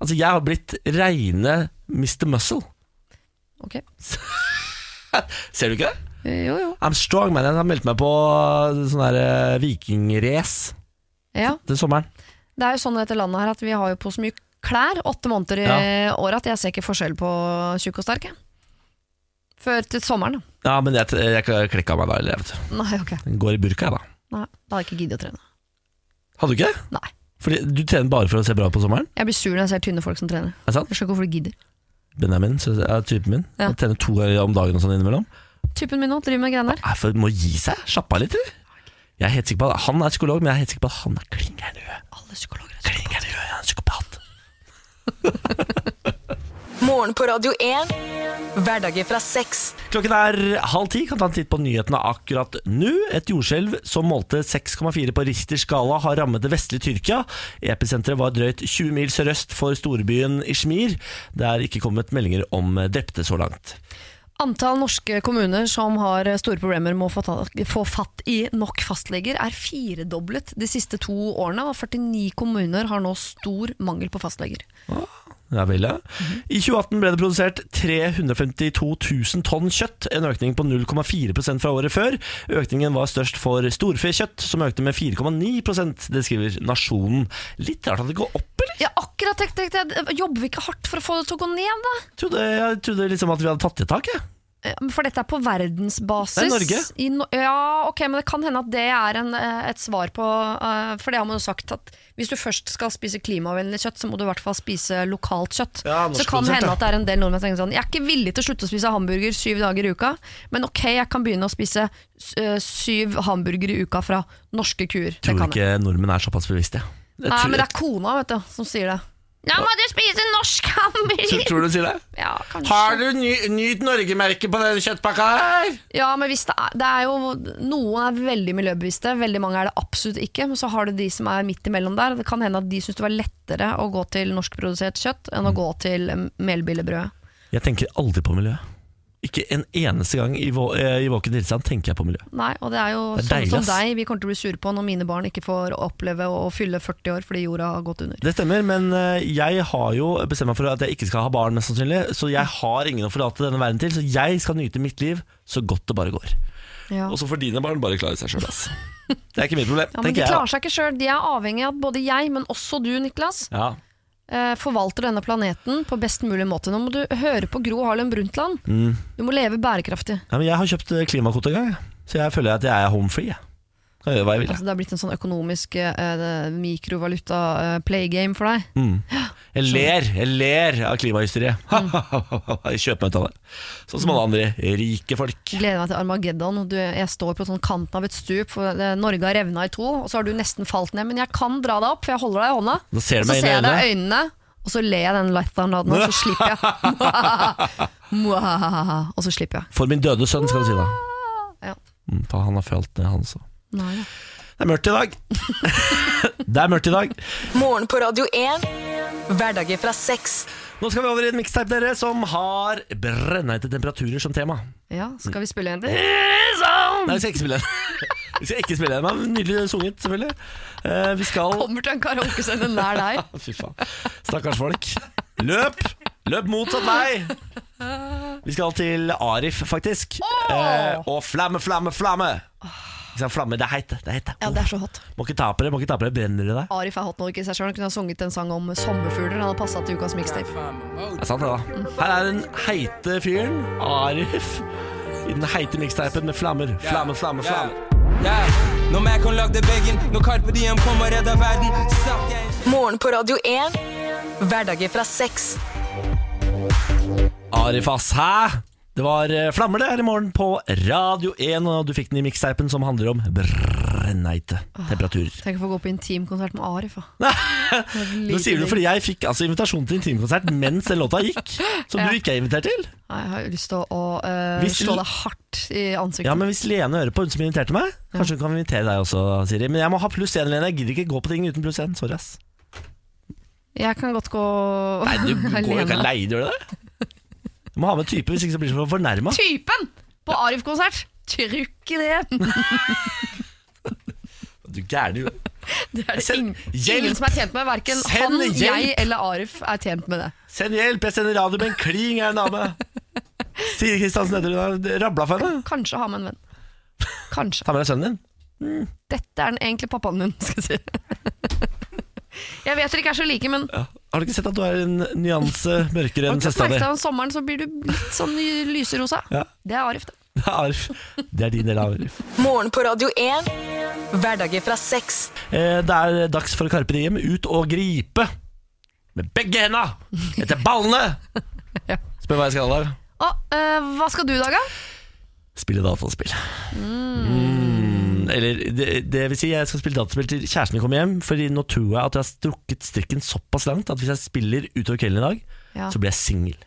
S1: Altså, jeg har blitt reine Mr. Muscle.
S2: Ok.
S1: Ser du ikke det?
S2: Jo, jo.
S1: I'm strong, man. Jeg har meldt meg på sånn der eh, vikingrace
S2: Ja.
S1: til sommeren.
S2: Det er jo sånn i dette landet her at vi har jo på så mye klær åtte måneder i året at jeg ser ikke forskjell på tjukk og sterk. jeg. Før til sommeren, da.
S1: Ja, men jeg, jeg klekka meg da. Eller, jeg vet.
S2: Nei, ok.
S1: du. Går i burka, jeg, da.
S2: Nei, da hadde jeg ikke giddet å trene.
S1: Hadde du ikke det?
S2: Nei.
S1: Fordi Du trener bare for å se bra ut på sommeren?
S2: Jeg blir sur når jeg ser tynne folk som trener.
S1: Er det sant?
S2: Jeg skjønner ikke hvorfor de gidder.
S1: Benjamin, så er typen min.
S2: Ja.
S1: Han trener to ganger om dagen og sånn innimellom.
S2: Typen min nå driver med greier der.
S1: Er for, må gi seg. Slappe av litt, eller? Jeg er helt sikker på at Han er psykolog, men jeg er helt sikker på at han er klin gæren i huet.
S2: Alle psykologer er
S1: Klin gæren i huet, han er en psykopat.
S3: Morgen på Radio 1. Hverdager fra seks.
S1: Klokken er halv ti. Kan ta en titt på nyhetene akkurat nå. Et jordskjelv som målte 6,4 på Richters skala, har rammet det vestlige Tyrkia. Episenteret var drøyt 20 mil sørøst for storbyen Ishmir. Det er ikke kommet meldinger om drepte så langt.
S2: Antall norske kommuner som har store problemer med å få, ta- få fatt i nok fastleger, er firedoblet de siste to årene, og 49 kommuner har nå stor mangel på fastleger.
S1: Ja vel, ja.
S2: Mhm.
S1: I 2018 ble det produsert 352 000 tonn kjøtt, en økning på 0,4 fra året før. Økningen var størst for storfekjøtt, som økte med 4,9 Det skriver Nasjonen. Litt rart at det går opp, eller?
S2: Ja, akkurat tenkte jeg, jobber vi ikke hardt for å få det til å gå ned, da?
S1: Jeg trodde, jeg trodde liksom at vi hadde tatt i tak, jeg.
S2: Ja, men Eh, For dette er på verdensbasis.
S1: Det er Norge.
S2: I no ja, ok, men det kan hende at det er en, eh, et svar på eh, For det har man jo sagt at hvis du først skal spise klimavennlig kjøtt, så må du i hvert fall spise lokalt kjøtt.
S1: Ja,
S2: så kan
S1: norskprodusert,
S2: det hende
S1: ja.
S2: at det er en del nordmenn som tenker sånn Jeg er ikke villig til å slutte å spise hamburger syv dager i uka, men ok, jeg kan begynne å spise eh, syv hamburgere i uka fra norske kuer. Det
S1: Tror
S2: kan jeg.
S1: ikke nordmenn er såpass bevisste. Jeg
S2: Nei,
S1: tror-
S2: men det er kona vet du, som sier det. Nå må du spise norsk
S1: Tror-
S2: hamburger!
S1: Tror du sier det?
S2: Ja, kanskje.
S1: du ny- Nyt Norge-merket på den kjøttpakka her?
S2: Ja, men hvis det er, det er jo Noen er veldig miljøbevisste, veldig mange er det absolutt ikke. Men så har du de som er midt imellom der. Det kan hende at de syns det var lettere å gå til norskprodusert kjøtt enn
S1: Mm.
S2: å gå til eh, melbillebrød.
S1: Jeg tenker aldri på miljø. Ikke en eneste gang i, vå eh, i våken tilstand tenker jeg på miljø.
S2: Nei, og det er jo
S1: Det er
S2: sånn
S1: deilig,
S2: som
S1: ass.
S2: deg vi kommer til å bli sure på når mine barn ikke får oppleve å fylle 40 år fordi jorda har gått under.
S1: Det stemmer, men eh, jeg har jo bestemt meg for at jeg ikke skal ha barn, mest sannsynlig. Så jeg har ingen å forlate denne verden til, så jeg skal nyte mitt liv så godt det bare går.
S2: Ja.
S1: Og så får dine barn bare klare seg sjøl, ass. Det er ikke mitt problem,
S2: Ja, men De
S1: tenker jeg.
S2: klarer
S1: da.
S2: seg ikke sjøl. De er avhengig av at både jeg, men også du, Niklas,
S1: Ja.
S2: eh, forvalter denne planeten på best mulig måte. Nå må du høre på Gro Harlem Brundtland.
S1: Mm.
S2: Du må leve bærekraftig.
S1: ja, men jeg har kjøpt eh, klimakvote en gang, jeg. så jeg føler at jeg er home free. Jeg. Kan gjøre hva jeg vil. jeg.
S2: Altså, det har blitt en sånn økonomisk eh, mikrovaluta-playgame for
S1: Mm.
S2: deg.
S1: Jeg ler, jeg ler av klimahysteriet.
S2: Mm.
S1: jeg kjøper meg ut av det. Sånn som alle andre rike folk.
S2: Gleder meg til Armageddon. og Du, jeg står på sånn kanten av et stup, for det, Norge har revna i to, og så har du nesten falt ned. Men jeg kan dra deg opp, for jeg holder deg i hånda.
S1: Da ser du
S2: Og så
S1: meg inn
S2: ser
S1: i
S2: jeg deg
S1: øynene.
S2: i øynene, og så ler jeg den lethardaden, og så slipper jeg. Mwahaha, og så slipper jeg.
S1: For min døde sønn, skal du si da.
S2: Ja.
S1: Mm, faen, han har følt det, han også.
S2: Nei, ja.
S1: Det er mørkt i dag. det er mørkt i dag.
S3: Morgen på Radio 1. Hverdager fra seks.
S1: Nå skal vi over i en mixtape, dere, som har brennheite temperaturer som tema.
S2: ja, skal vi spille en til?
S1: Nei, vi skal ikke spille den. Vi skal ikke spille den, men nydelig sunget, selvfølgelig. Eh, vi skal
S2: Kommer til en karaokescene nær deg.
S1: Fy faen. Stakkars folk. Løp! Løp motsatt vei! Vi skal til Arif, faktisk. Eh, og flamme, flamme, flamme! Ikke sant, flamme, det er heit. Det er heit.
S2: Ja, det er så hot.
S1: Må ikke ta på det, må ikke ta på det. Brenner i deg.
S2: Arif er hot nok i seg sjøl. Han kunne ha sunget en sang om sommerfugler. Han hadde passa til ukas mixtape.
S1: Det er sant, det, da. Her er den heite fyren, Arif, i den heite miksteipen med flammer. Flamme, flamme, flamme.
S8: Ja. Når Macon lagde veggen, når Carpe Diem kom og redda verden Satt jeg
S3: Morgen på Radio 1. Hverdager fra seks.
S1: Arif, ass, hæ? Det var eh, flammer det her i morgen på Radio 1, og du fikk den i miksteipen som handler om brenneite temperaturer.
S2: Tenk å få gå på intimkonsert med Arif. da.
S1: Nå sier du det fordi jeg fikk altså invitasjon til intimkonsert mens den låta gikk. Som du ikke er invitert til.
S2: Nei, Jeg har jo lyst til å eh,
S1: Hvis du-
S2: slå deg hardt i ansiktet.
S1: Ja, men Hvis Lene hører på, hun som inviterte meg, kanskje hun kan invitere deg også, Siri. Men jeg må ha pluss én, Lene. Jeg gidder ikke gå på ting uten pluss én. Sorry, ass.
S2: Jeg kan godt gå
S1: Nei, du går jo
S2: alene.
S1: ikke aleine, gjør du det? Du må ha med type, hvis ikke så blir du så fornærma.
S2: Typen på Arif-konsert! Trykk i det!
S1: Du gærne hue.
S2: Det er det
S1: Send
S2: ing-
S1: hjelp!
S2: ingen som er tjent med. Verken
S1: Send
S2: han,
S1: hjelp!
S2: jeg eller Arif er tjent med det.
S1: Send hjelp, jeg sender radio med en kling, er en dame. Siri Kristiansen heter hun. har Rabla for henne.
S2: Kanskje ha med en venn. Kanskje.
S1: Ta med deg sønnen din.
S2: Dette er den egentlig pappaen min, skal jeg si. Jeg vet dere ikke er så like, men
S1: Har du ikke sett at du er en nyanse mørkere enn søstera di?
S2: merket deg om sommeren så blir du litt sånn i lyserosa.
S1: Ja.
S2: Det er Arif, det.
S1: Det er Arif. Det er din del av Arif.
S3: Morgen på Radio 1. Hverdager fra seks.
S1: Eh, Det er dags for Karpe Diem. Ut og gripe med begge henda etter ballene!
S2: Ja.
S1: Spør hva jeg skal i dag.
S2: Å, eh, hva skal du i dag, da?
S1: Spille dataspill. Mm. Eller det, det vil si, jeg skal spille dataspill til kjæresten kommer hjem, Fordi nå tror jeg at jeg har strukket strikken såpass langt at hvis jeg spiller utover kvelden i dag,
S2: Ja.
S1: så blir jeg singel.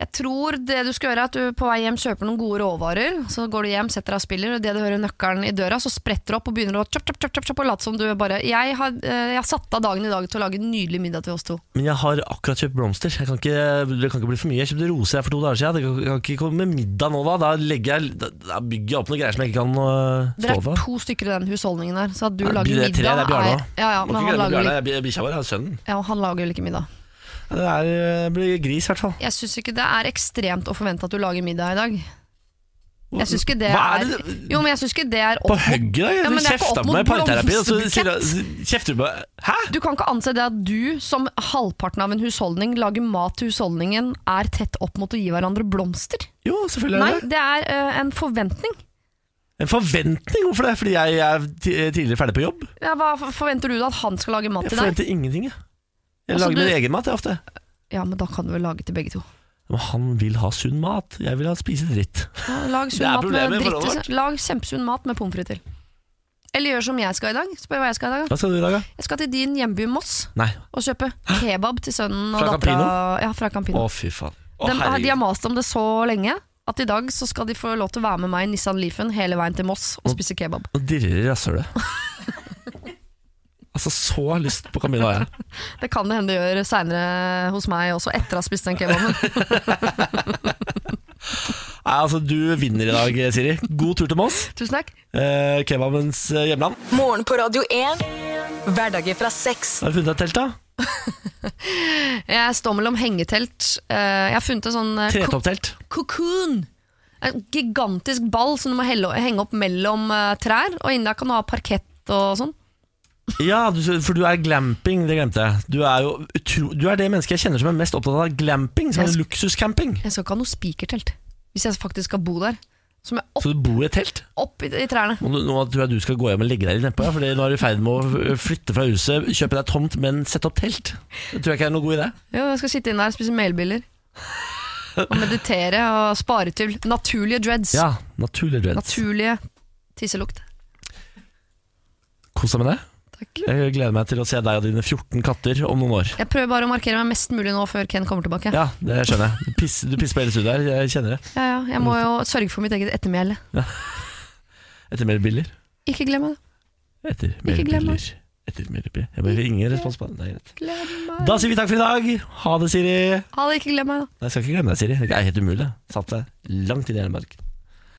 S2: Jeg tror det du skal gjøre er at du på vei hjem kjøper noen gode råvarer, så går du hjem, setter deg og spiller, og det du hører nøkkelen i døra, så spretter du opp og begynner å chop, chop, chop, chop, chop og late som du bare jeg har, eh, jeg har satt av dagen i dag til å lage en nydelig middag til oss to.
S1: Men jeg har akkurat kjøpt blomster. Jeg kan ikke, det kan ikke bli for mye. Jeg kjøpte roser her for to dager siden. Det kan, kan ikke komme med middag nå, da. Da, legger jeg, da, da bygger jeg opp noen greier som jeg ikke kan øh,
S2: Dere
S1: stå
S2: er
S1: for.
S2: to stykker i den husholdningen der, så at du
S1: Nei,
S2: lager
S1: det er
S2: middag
S1: tre, det er Bjarne
S2: er-
S1: også.
S2: Ja, ja,
S1: Må
S2: men
S1: ikke glemme
S2: han lager,
S1: Bjarne.
S2: vel ikke-
S1: Jeg blir- Bikkja vår er sønnen.
S2: ja, han lager vel ikke middag.
S1: Det er, øh, blir gris, i hvert fall.
S2: Jeg syns ikke det er ekstremt å forvente at du lager middag i dag. Jeg synes ikke det
S1: Hva er
S2: er
S1: det-
S2: Jo, men jeg syns ikke det er
S1: På
S2: opp mot
S1: hugget, da?
S2: Ja,
S1: Du
S2: men det er ikke
S1: kjefta
S2: opp
S1: på meg i
S2: mot
S1: parterapi, og så sier
S2: blomsterbukett.
S1: du- så kjefter du på meg. Hæ?
S2: Du kan ikke anse det at du, som halvparten av en husholdning, lager mat til husholdningen, er tett opp mot å gi hverandre blomster.
S1: Jo, selvfølgelig
S2: Nei,
S1: er det det.
S2: det er eh, en forventning.
S1: En forventning, hvorfor det? Fordi jeg er ti- tidligere ferdig på jobb?
S2: Ja, hva f- forventer du da at han skal lage mat
S1: Jeg
S2: til deg?
S1: forventer ingenting, jeg. Jeg
S2: Altså,
S1: lager min
S2: du-
S1: egen mat, jeg, ofte.
S2: Ja, men da kan du vel lage til begge to.
S1: Men han vil ha sunn mat. Jeg vil ha spise dritt.
S2: Ja, Lag
S1: Det
S2: sunn
S1: er
S2: mat med
S1: problemet i
S2: dritt.
S1: forholdet
S2: til- Lag kjempesunn mat med pommes frites til. Eller gjør som jeg skal i dag. Spør hva jeg skal i dag. da.
S1: Hva skal du i dag, da?
S2: Jeg skal til din hjemby Moss
S1: Nei.
S2: og kjøpe kebab til sønnen og
S1: Fra
S2: dattera. Ja, fra
S1: Å,
S2: Campino.
S1: fy faen. Å,
S2: De, de har
S1: herregud.
S2: mast om det så lenge at i dag så skal de få lov til å være med meg i Nissan Leafen hele veien til Moss og spise kebab.
S1: Nå dirrer det i rasshølet. altså, så har jeg lyst på Camilla har jeg.
S2: Det kan det hende det gjør seinere hos meg også, etter å ha spist den kebaben.
S1: Nei, altså, du vinner i dag, Siri. God tur til Moss.
S2: Tusen takk.
S1: Eh, kebabens eh, hjemland.
S3: Morgen på Radio 1. Hverdager fra seks.
S1: Har du funnet deg et telt, da?
S2: Jeg står mellom hengetelt. Eh, Jeg har funnet en sånn eh, ko-
S1: Tretopptelt.
S2: cocoon. En gigantisk ball som du må helle, henge opp mellom eh, trær, og inni der kan du ha parkett og sånn.
S1: Ja, du, for du er glamping, det glemte jeg. Du er jo utro, du er det mennesket jeg kjenner som er mest opptatt av glamping, som
S2: Jeg
S1: er
S2: sk-
S1: luksuscamping.
S2: Jeg skal ikke ha noe spikertelt, hvis jeg faktisk skal bo der. Så må jeg opp,
S1: Så du bor i et telt?
S2: opp i, i trærne.
S1: Nå, nå tror jeg du skal gå hjem og legge deg litt nedpå, ja, for nå er du i ferd med å flytte fra huset, kjøpe deg tomt, men sette opp telt. Det tror jeg ikke er noen god idé.
S2: Jo, jeg skal sitte inn der og spise melbiller. Og meditere og spare til naturlige dreads.
S1: Ja, naturlig dreads.
S2: Naturlige tisselukt.
S1: Kos deg med det.
S2: Takk.
S1: Jeg gleder meg til å se deg og dine 14 katter om noen år.
S2: Jeg prøver bare å markere meg mest mulig nå før Ken kommer tilbake. Ja.
S1: Ja, det skjønner jeg. Du pisser, du pisser på hele studioet her, jeg kjenner det.
S2: Ja, Jeg må jo sørge for mitt eget ettermæle.
S1: Etter mer biller.
S2: Ikke glem det.
S1: Etter mer
S2: Ikke glem
S1: biller.
S2: oss.
S1: Etter mer biller. Jeg bare ingen respons på det. Det er greit.
S2: Glem
S1: Da sier vi takk for i dag. Ha det, Siri.
S2: Ha det, ikke glem meg, da.
S1: Nei, jeg skal ikke glemme deg, Siri. Det er helt umulig. Satt deg langt inn i Hedmark.